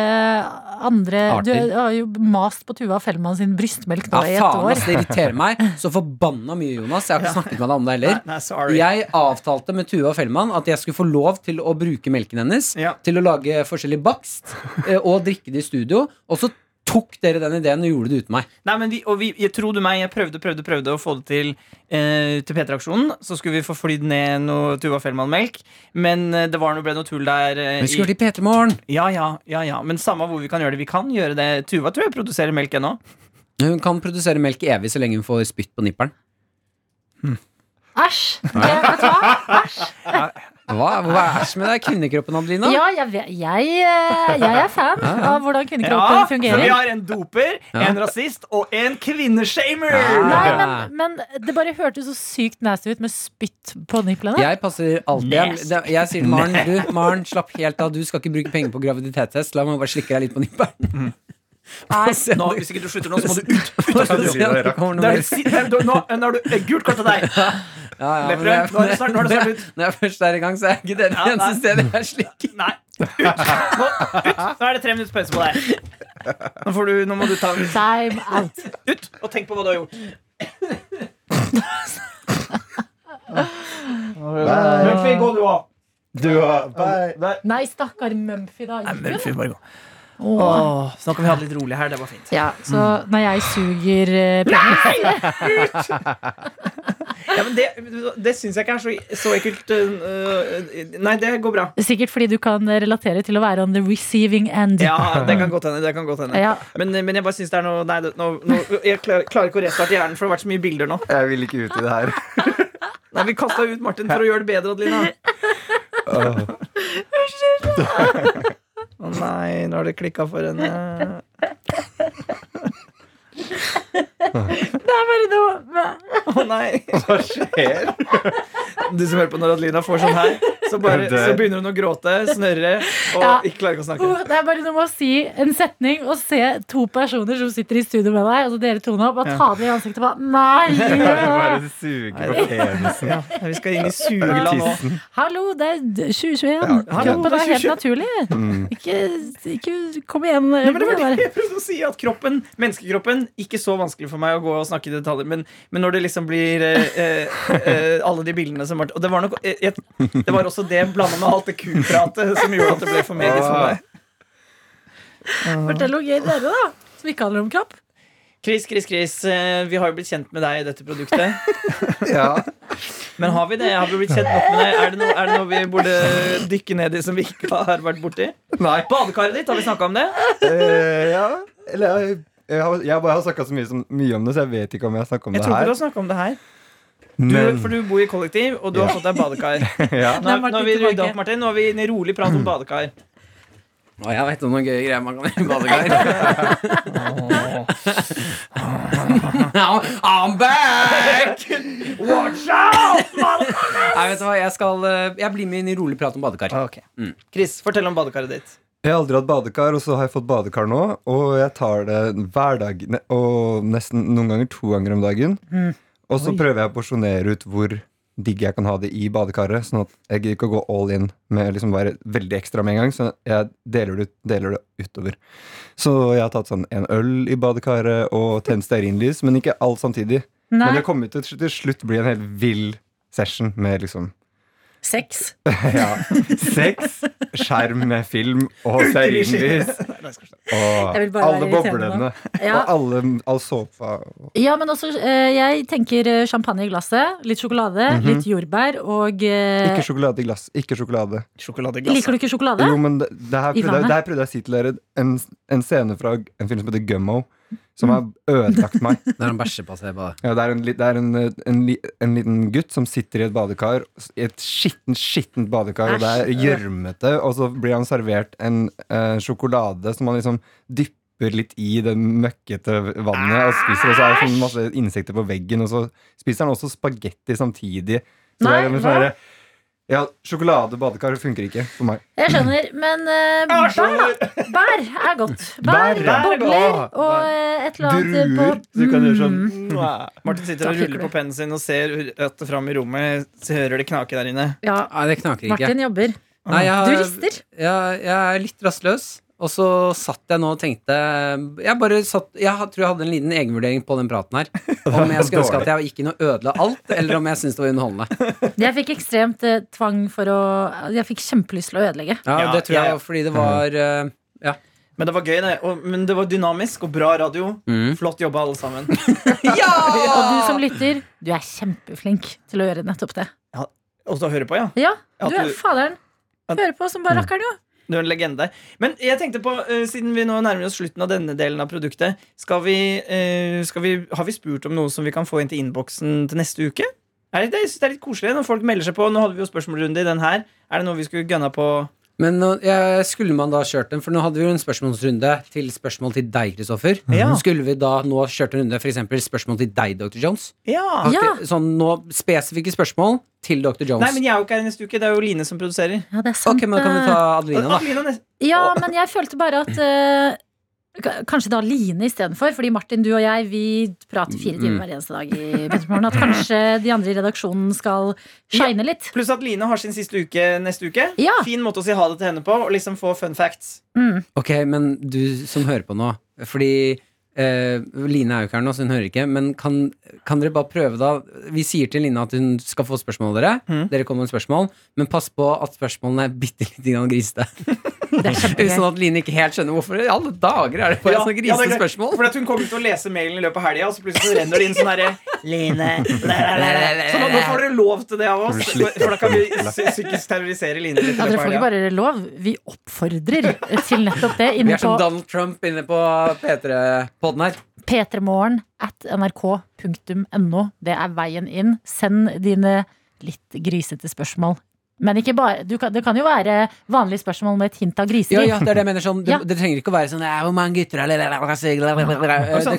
Speaker 4: andre Du
Speaker 3: Arter.
Speaker 4: har jo mast på Tuva Fellmann sin brystmelk
Speaker 3: Ja,
Speaker 4: nå i et
Speaker 3: faen,
Speaker 2: altså.
Speaker 4: år.
Speaker 3: ass, det irriterer meg så forbanna mye, Jonas. Jeg har ikke snakket med deg om det
Speaker 2: Nei,
Speaker 3: heller.
Speaker 2: nei, sorry.
Speaker 3: Jeg avtalte med Tuva Fellmann at jeg skulle få lov til å bruke melken hennes
Speaker 2: Ja.
Speaker 3: til å lage forskjellig bakst eh, og drikke det i studio, og så tok dere den ideen og gjorde det uten meg.
Speaker 2: Nei, men vi, og vi, jeg trodde meg, jeg prøvde, prøvde, prøvde å få det til eh, Til P3-aksjonen. Så skulle vi få flydd ned noe Tuva Fellmann-melk. Men eh, det var noe, ble noe tull der. eh,
Speaker 3: Vi
Speaker 2: i-
Speaker 3: skulle til P3 Morgen.
Speaker 2: ja, ja, ja, ja. Men samme hvor vi kan gjøre det. Vi kan gjøre det. Tuva tror jeg produserer melk ennå.
Speaker 3: Hun kan produsere melk evig så lenge hun får spytt på nipperen.
Speaker 4: Æsj! Det, vet du hva? Æsj.
Speaker 3: Hva, hva er det med deg? Kvinnekroppen, Adelina?
Speaker 4: Ja, jeg, vet- jeg, eh, jeg er fan av hvordan kvinnekroppen
Speaker 2: Ja, så
Speaker 4: fungerer.
Speaker 2: vi har en doper,
Speaker 3: Ja.
Speaker 2: en rasist og en kvinneshamer!
Speaker 3: Ja.
Speaker 4: Nei, men, men det bare hørtes så sykt nasty ut med spytt på nipplene.
Speaker 3: Jeg passer alltid jeg, det- jeg sier til Maren Du, Maren, slapp helt av. Du skal ikke bruke penger på graviditetstest. La meg bare slikke deg litt på nipperen. Nei,
Speaker 2: Mm. Nå, hvis ikke du slutter nå, så må du ut! Nå er,
Speaker 3: ut.
Speaker 2: det si- der- nå, nå er du eh, gult kort til deg!
Speaker 3: Ja, ja, men
Speaker 2: Løper,
Speaker 3: det-
Speaker 2: nå er det snart- nå er det snart ut.
Speaker 3: Når jeg først er i gang, så er ikke det det
Speaker 2: Ja, nei.
Speaker 3: eneste stedet jeg slikker.
Speaker 2: Nei, Gå ut! Nå er det tre minutters pause på deg. Nå, får du, nå må du ta den
Speaker 4: Time out.
Speaker 2: ut og tenk på hva du har gjort. Mumphy, gå du òg.
Speaker 8: Du har Bye.
Speaker 4: Nei, stakkar Mumphy, da.
Speaker 2: Mumphy, bare gå.
Speaker 4: Åh.
Speaker 2: Åh, så nå kan vi ha det litt rolig her. Det var fint.
Speaker 4: Ja, så når jeg suger eh, penis
Speaker 2: Ja, men Det, det syns jeg ikke er så, så ekkelt. øh, øh, Nei, det går bra.
Speaker 4: Sikkert fordi du kan relatere til å være on the receiving end.
Speaker 2: Ja, det kan godt hende. Det kan godt hende.
Speaker 4: Ja.
Speaker 2: Men, men jeg bare syns det er noe Nei, det- nå, nå, jeg klarer, klarer ikke å restarte hjernen, for det har vært så mye bilder nå.
Speaker 5: Jeg vil ikke ut i det her.
Speaker 2: Nei, Vi kasta ut Martin for å gjøre det bedre, Adelina.
Speaker 5: Åh.
Speaker 2: Å nei, nå har det klikka for henne.
Speaker 4: Det er bare noe
Speaker 2: Å nei.
Speaker 5: Hva skjer?
Speaker 2: Du som hører på når Adelina får sånn her, så, bare,
Speaker 5: Jeg dør.
Speaker 2: så begynner hun å gråte, snørre
Speaker 4: Ja.
Speaker 2: og ikke klarer ikke å snakke.
Speaker 4: Åh, oh, Det er bare noe med å si en setning og se to personer som sitter i studio med deg, og så dere to nå, bare ta det i ansiktet og bare Nei!
Speaker 5: Bare suger på penisen.
Speaker 2: Ja, vi skal inn i sugeland nå.
Speaker 4: Hallo, det er
Speaker 2: hallo,
Speaker 4: 2021.
Speaker 2: det
Speaker 4: Kroppen er
Speaker 2: er
Speaker 4: helt naturlig.
Speaker 5: Mm.
Speaker 4: Ikke, ikke kom igjen.
Speaker 2: Nei, men det var det
Speaker 4: bare-
Speaker 2: jeg prøvde å si, at kroppen, menneskekroppen, ikke så vanskelig for meg å gå og snakke i detaljer, men, men når det liksom blir eh, eh, eh, alle de bildene som Martin Og det var nok eh, jeg, Det var også det blanda med alt det kupratet som gjorde at det ble for meget for meg.
Speaker 4: Fortell noe gøy dere, da. Som ikke handler om kropp.
Speaker 2: Chris, Chris, Chris, eh, vi har jo blitt kjent med deg i dette produktet.
Speaker 5: Ja.
Speaker 2: Men har vi det? Har vi blitt kjent nok med deg? Er det noe, er det noe vi burde dykke ned i som vi ikke har vært borti?
Speaker 5: Nei.
Speaker 2: Badekaret ditt, har vi snakka om det?
Speaker 5: Eh, ja. Eller jeg, jeg, har, jeg bare har snakka så mye, som, mye om det, så jeg vet ikke om jeg har snakka om
Speaker 2: Jeg
Speaker 5: det
Speaker 2: tror ikke du
Speaker 5: her.
Speaker 2: har snakka om det her. Du,
Speaker 5: Men
Speaker 2: for du bor i kollektiv, og du har
Speaker 5: Ja.
Speaker 2: fått deg badekar.
Speaker 5: ja.
Speaker 2: Nå,
Speaker 4: Nei, Martin,
Speaker 2: nå har vi rydda
Speaker 4: tilbake.
Speaker 2: opp, Martin. Nå har vi inne i rolig
Speaker 5: Mm.
Speaker 2: prat om badekar.
Speaker 3: Å, jeg vet om noen gøye greier man kan gjøre i badekar. Now I'm back!
Speaker 2: Watch out!
Speaker 3: Nei, vet du hva, jeg, skal, eh, jeg blir med inn i rolig prat om badekar.
Speaker 4: Ah.
Speaker 2: Chris, fortell om badekaret ditt.
Speaker 5: Jeg har aldri hatt badekar, og så har jeg fått badekar nå. Og jeg tar det hver dag, ne- og nesten noen ganger to ganger om dagen. Og så prøver jeg å porsjonere ut hvor digg jeg kan ha det i badekaret. Sånn at jeg gidder ikke å gå all in med liksom være veldig ekstra med en gang. Så jeg deler det, ut, deler det utover. Så jeg har tatt sånn en øl i badekaret og tent stearinlys, men ikke alt samtidig. Men
Speaker 4: Nei.
Speaker 5: det kommer til, til slutt bli en helt vill session med liksom
Speaker 4: Sex.
Speaker 5: ja, sex, skjerm med film og stearinlys. Og
Speaker 4: Jeg vil bare
Speaker 5: alle
Speaker 4: være irriterende
Speaker 5: boblene.
Speaker 4: Ja.
Speaker 5: Og alle, all såpa.
Speaker 4: Ja, men også, eh, jeg tenker eh, champagne i glasset, litt sjokolade, litt jordbær og eh,
Speaker 5: Mhm. Ikke sjokolade i glass. Ikke sjokolade.
Speaker 4: Liker du ikke sjokolade?
Speaker 5: Jo, men det, det, her
Speaker 4: I
Speaker 5: prøvde, jeg-
Speaker 4: vannet?
Speaker 5: det her prøvde jeg å si til dere. En, en scene fra en film som heter Gummo,
Speaker 4: Mm.
Speaker 5: som har ødelagt meg.
Speaker 3: Når han bæsjer på seg. Bare.
Speaker 5: Ja, det er, en, li- det er en, eh, en, li- en liten gutt som sitter i et badekar, s- i et skittent, skittent badekar, og det er gjørmete, og så blir han servert en eh, sjokolade som han liksom dypper litt i det møkkete vannet og spiser, og så er det sånn masse insekter på veggen, og så spiser han også spagetti samtidig. Så
Speaker 4: Nei,
Speaker 5: det er, sånn
Speaker 4: hva?
Speaker 5: derre- ja, sjokolade og badekar funker ikke for meg.
Speaker 4: Jeg skjønner, men eh, bær, bær er godt. Bær,
Speaker 5: Ah, Bær, ja.
Speaker 4: bobler
Speaker 5: Bær.
Speaker 4: og eh, et eller annet på Mm.
Speaker 5: Druer, så du kan gjøre sånn.
Speaker 2: Martin sitter og ruller på pennen sin og ser rett fram i rommet. Så hører det knake der inne.
Speaker 4: Ja,
Speaker 3: Nei, det knaker ikke.
Speaker 4: Martin jobber.
Speaker 3: Nei, jeg,
Speaker 4: Du
Speaker 3: har-
Speaker 4: rister.
Speaker 3: Jeg, jeg er litt rastløs. Og så satt jeg nå og tenkte Jeg bare satt, jeg ha- tror jeg hadde en liten egenvurdering på den praten her. Om jeg skulle ønske at jeg gikk inn og ødela alt, eller om jeg syntes det var underholdende.
Speaker 4: Jeg fikk ekstremt eh, tvang for å Jeg fikk kjempelyst til å ødelegge.
Speaker 3: Ja,
Speaker 2: Ja,
Speaker 3: Det tror
Speaker 2: ja.
Speaker 3: jeg var fordi det var eh, ja.
Speaker 2: Men det var gøy, det. Og, men det var dynamisk og bra radio.
Speaker 3: Mm.
Speaker 2: Flott jobba, alle sammen.
Speaker 4: Og du som lytter, du er kjempeflink til å gjøre nettopp det.
Speaker 2: Og så høre på, ja.
Speaker 4: Ja,
Speaker 2: At
Speaker 4: du er
Speaker 2: du-
Speaker 4: faderen.
Speaker 2: At-
Speaker 4: Hører på som
Speaker 3: Mm.
Speaker 4: bare rakkeren, jo.
Speaker 2: Du er en legende. Men jeg tenkte på, eh, siden vi nå nærmer oss slutten av denne delen av produktet, skal vi, eh, skal vi, har vi spurt om noe som vi kan få inn til innboksen til neste uke? Er det, jeg synes det er litt koselig når folk melder seg på. Nå hadde vi jo spørsmålrunde i den her. Er det noe vi skulle gønna på?
Speaker 3: Men nå, ja, skulle man da kjørt den? For nå hadde vi jo en spørsmålsrunde til spørsmål til deg, Kristoffer.
Speaker 2: Ja.
Speaker 3: Skulle vi da nå kjørt en runde f.eks. spørsmål til deg, Dr. Jones?
Speaker 2: Ja.
Speaker 4: Ja.
Speaker 3: Akkurat- Sånn nå spesifikke spørsmål til Dr. Jones.
Speaker 2: Nei, men jeg er jo ikke her neste uke. Det er jo Line som produserer.
Speaker 4: Ja, det er sant.
Speaker 3: ok, men da kan vi
Speaker 4: det.
Speaker 3: ta Adelina, da.
Speaker 2: Adelina nest-
Speaker 4: Ja, men jeg følte bare at eh, K- Kanskje da Line istedenfor, fordi Martin, du og jeg vi prater
Speaker 3: Mm.
Speaker 4: fire timer hver eneste dag i Petermorgen. At kanskje de andre i redaksjonen skal shine litt.
Speaker 2: Pluss at Line har sin siste uke neste uke.
Speaker 4: Ja.
Speaker 2: Fin måte å si ha det til henne på. Og liksom få fun facts.
Speaker 4: Mm.
Speaker 3: Ok, men du som hører på nå Fordi eh, Line er jo ikke her nå, så hun hører ikke Men kan, kan dere bare prøve da Vi sier til Line at hun skal få spørsmål av dere
Speaker 2: Mhm.
Speaker 3: Dere kommer med spørsmål Men pass på at spørsmålene er bittelitt grann griste
Speaker 4: Det er kjempegøy.
Speaker 3: Sånn at Line ikke helt skjønner hvorfor I alle dager er det bare
Speaker 2: Ja, ja,
Speaker 3: sånne
Speaker 2: det er
Speaker 3: grisete
Speaker 2: greit.
Speaker 3: spørsmål
Speaker 2: For at hun kommer til å lese mailen i løpet av helga, og så plutselig så renner det inn sånn herre Line la, la, la, la. Så nå, nå får dere lov til det av oss, for da kan vi psy- psykisk terrorisere Line litt. i
Speaker 4: Ja, dere
Speaker 2: løpet av
Speaker 4: får
Speaker 2: helga.
Speaker 4: ikke bare lov, vi oppfordrer til nettopp det
Speaker 3: Vi
Speaker 4: inne
Speaker 3: er
Speaker 4: på
Speaker 3: som Donald Trump inne på P3-podden her
Speaker 4: p3morgen at nrk.no. Det er veien inn. Send dine litt grisete spørsmål. Men ikke bare, du kan, det kan jo være vanlige spørsmål med et hint av
Speaker 3: Ja,
Speaker 4: griseri.
Speaker 3: ja, det er det jeg mener sånn Det,
Speaker 4: Ja.
Speaker 3: det trenger ikke å være sånn «Ja, Hvor mange gutter er det?» Det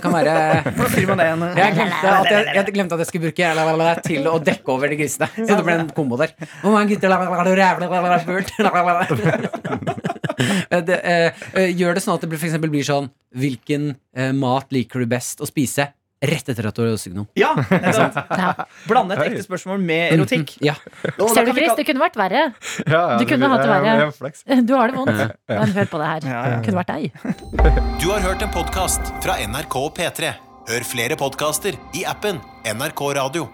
Speaker 3: kan være
Speaker 2: Hvordan sier man det igjen?
Speaker 3: Jeg glemte at jeg, jeg glemte at jeg skulle bruke la, la, la, til å dekke over de grisene. Så det ble en kombo der. Hvor mange gutter la, la, la, la, la, la, la, burt, la, la, la. Det, eh, eh, Gjør det sånn at det blir- for eksempel blir sånn Hvilken eh, mat liker du best å spise? Rett etter at du har sugd noe.
Speaker 2: Ja, nettopp.
Speaker 4: Ja.
Speaker 2: Blande et ekte spørsmål med erotikk.
Speaker 3: Mhm. Ja.
Speaker 2: Og da
Speaker 4: Ser
Speaker 2: kan vi
Speaker 4: du, Chris,
Speaker 2: kall-
Speaker 4: det kunne vært verre.
Speaker 5: Ja, ja,
Speaker 4: Du kunne hatt det verre.
Speaker 5: jeg- jeg har flaks.
Speaker 4: Du har det vondt. Men hør på det her.
Speaker 2: Ja, ja.
Speaker 4: Det kunne vært deg.
Speaker 1: Du har hørt en podcast fra NRK P3. Hør flere podcaster i appen NRK Radio.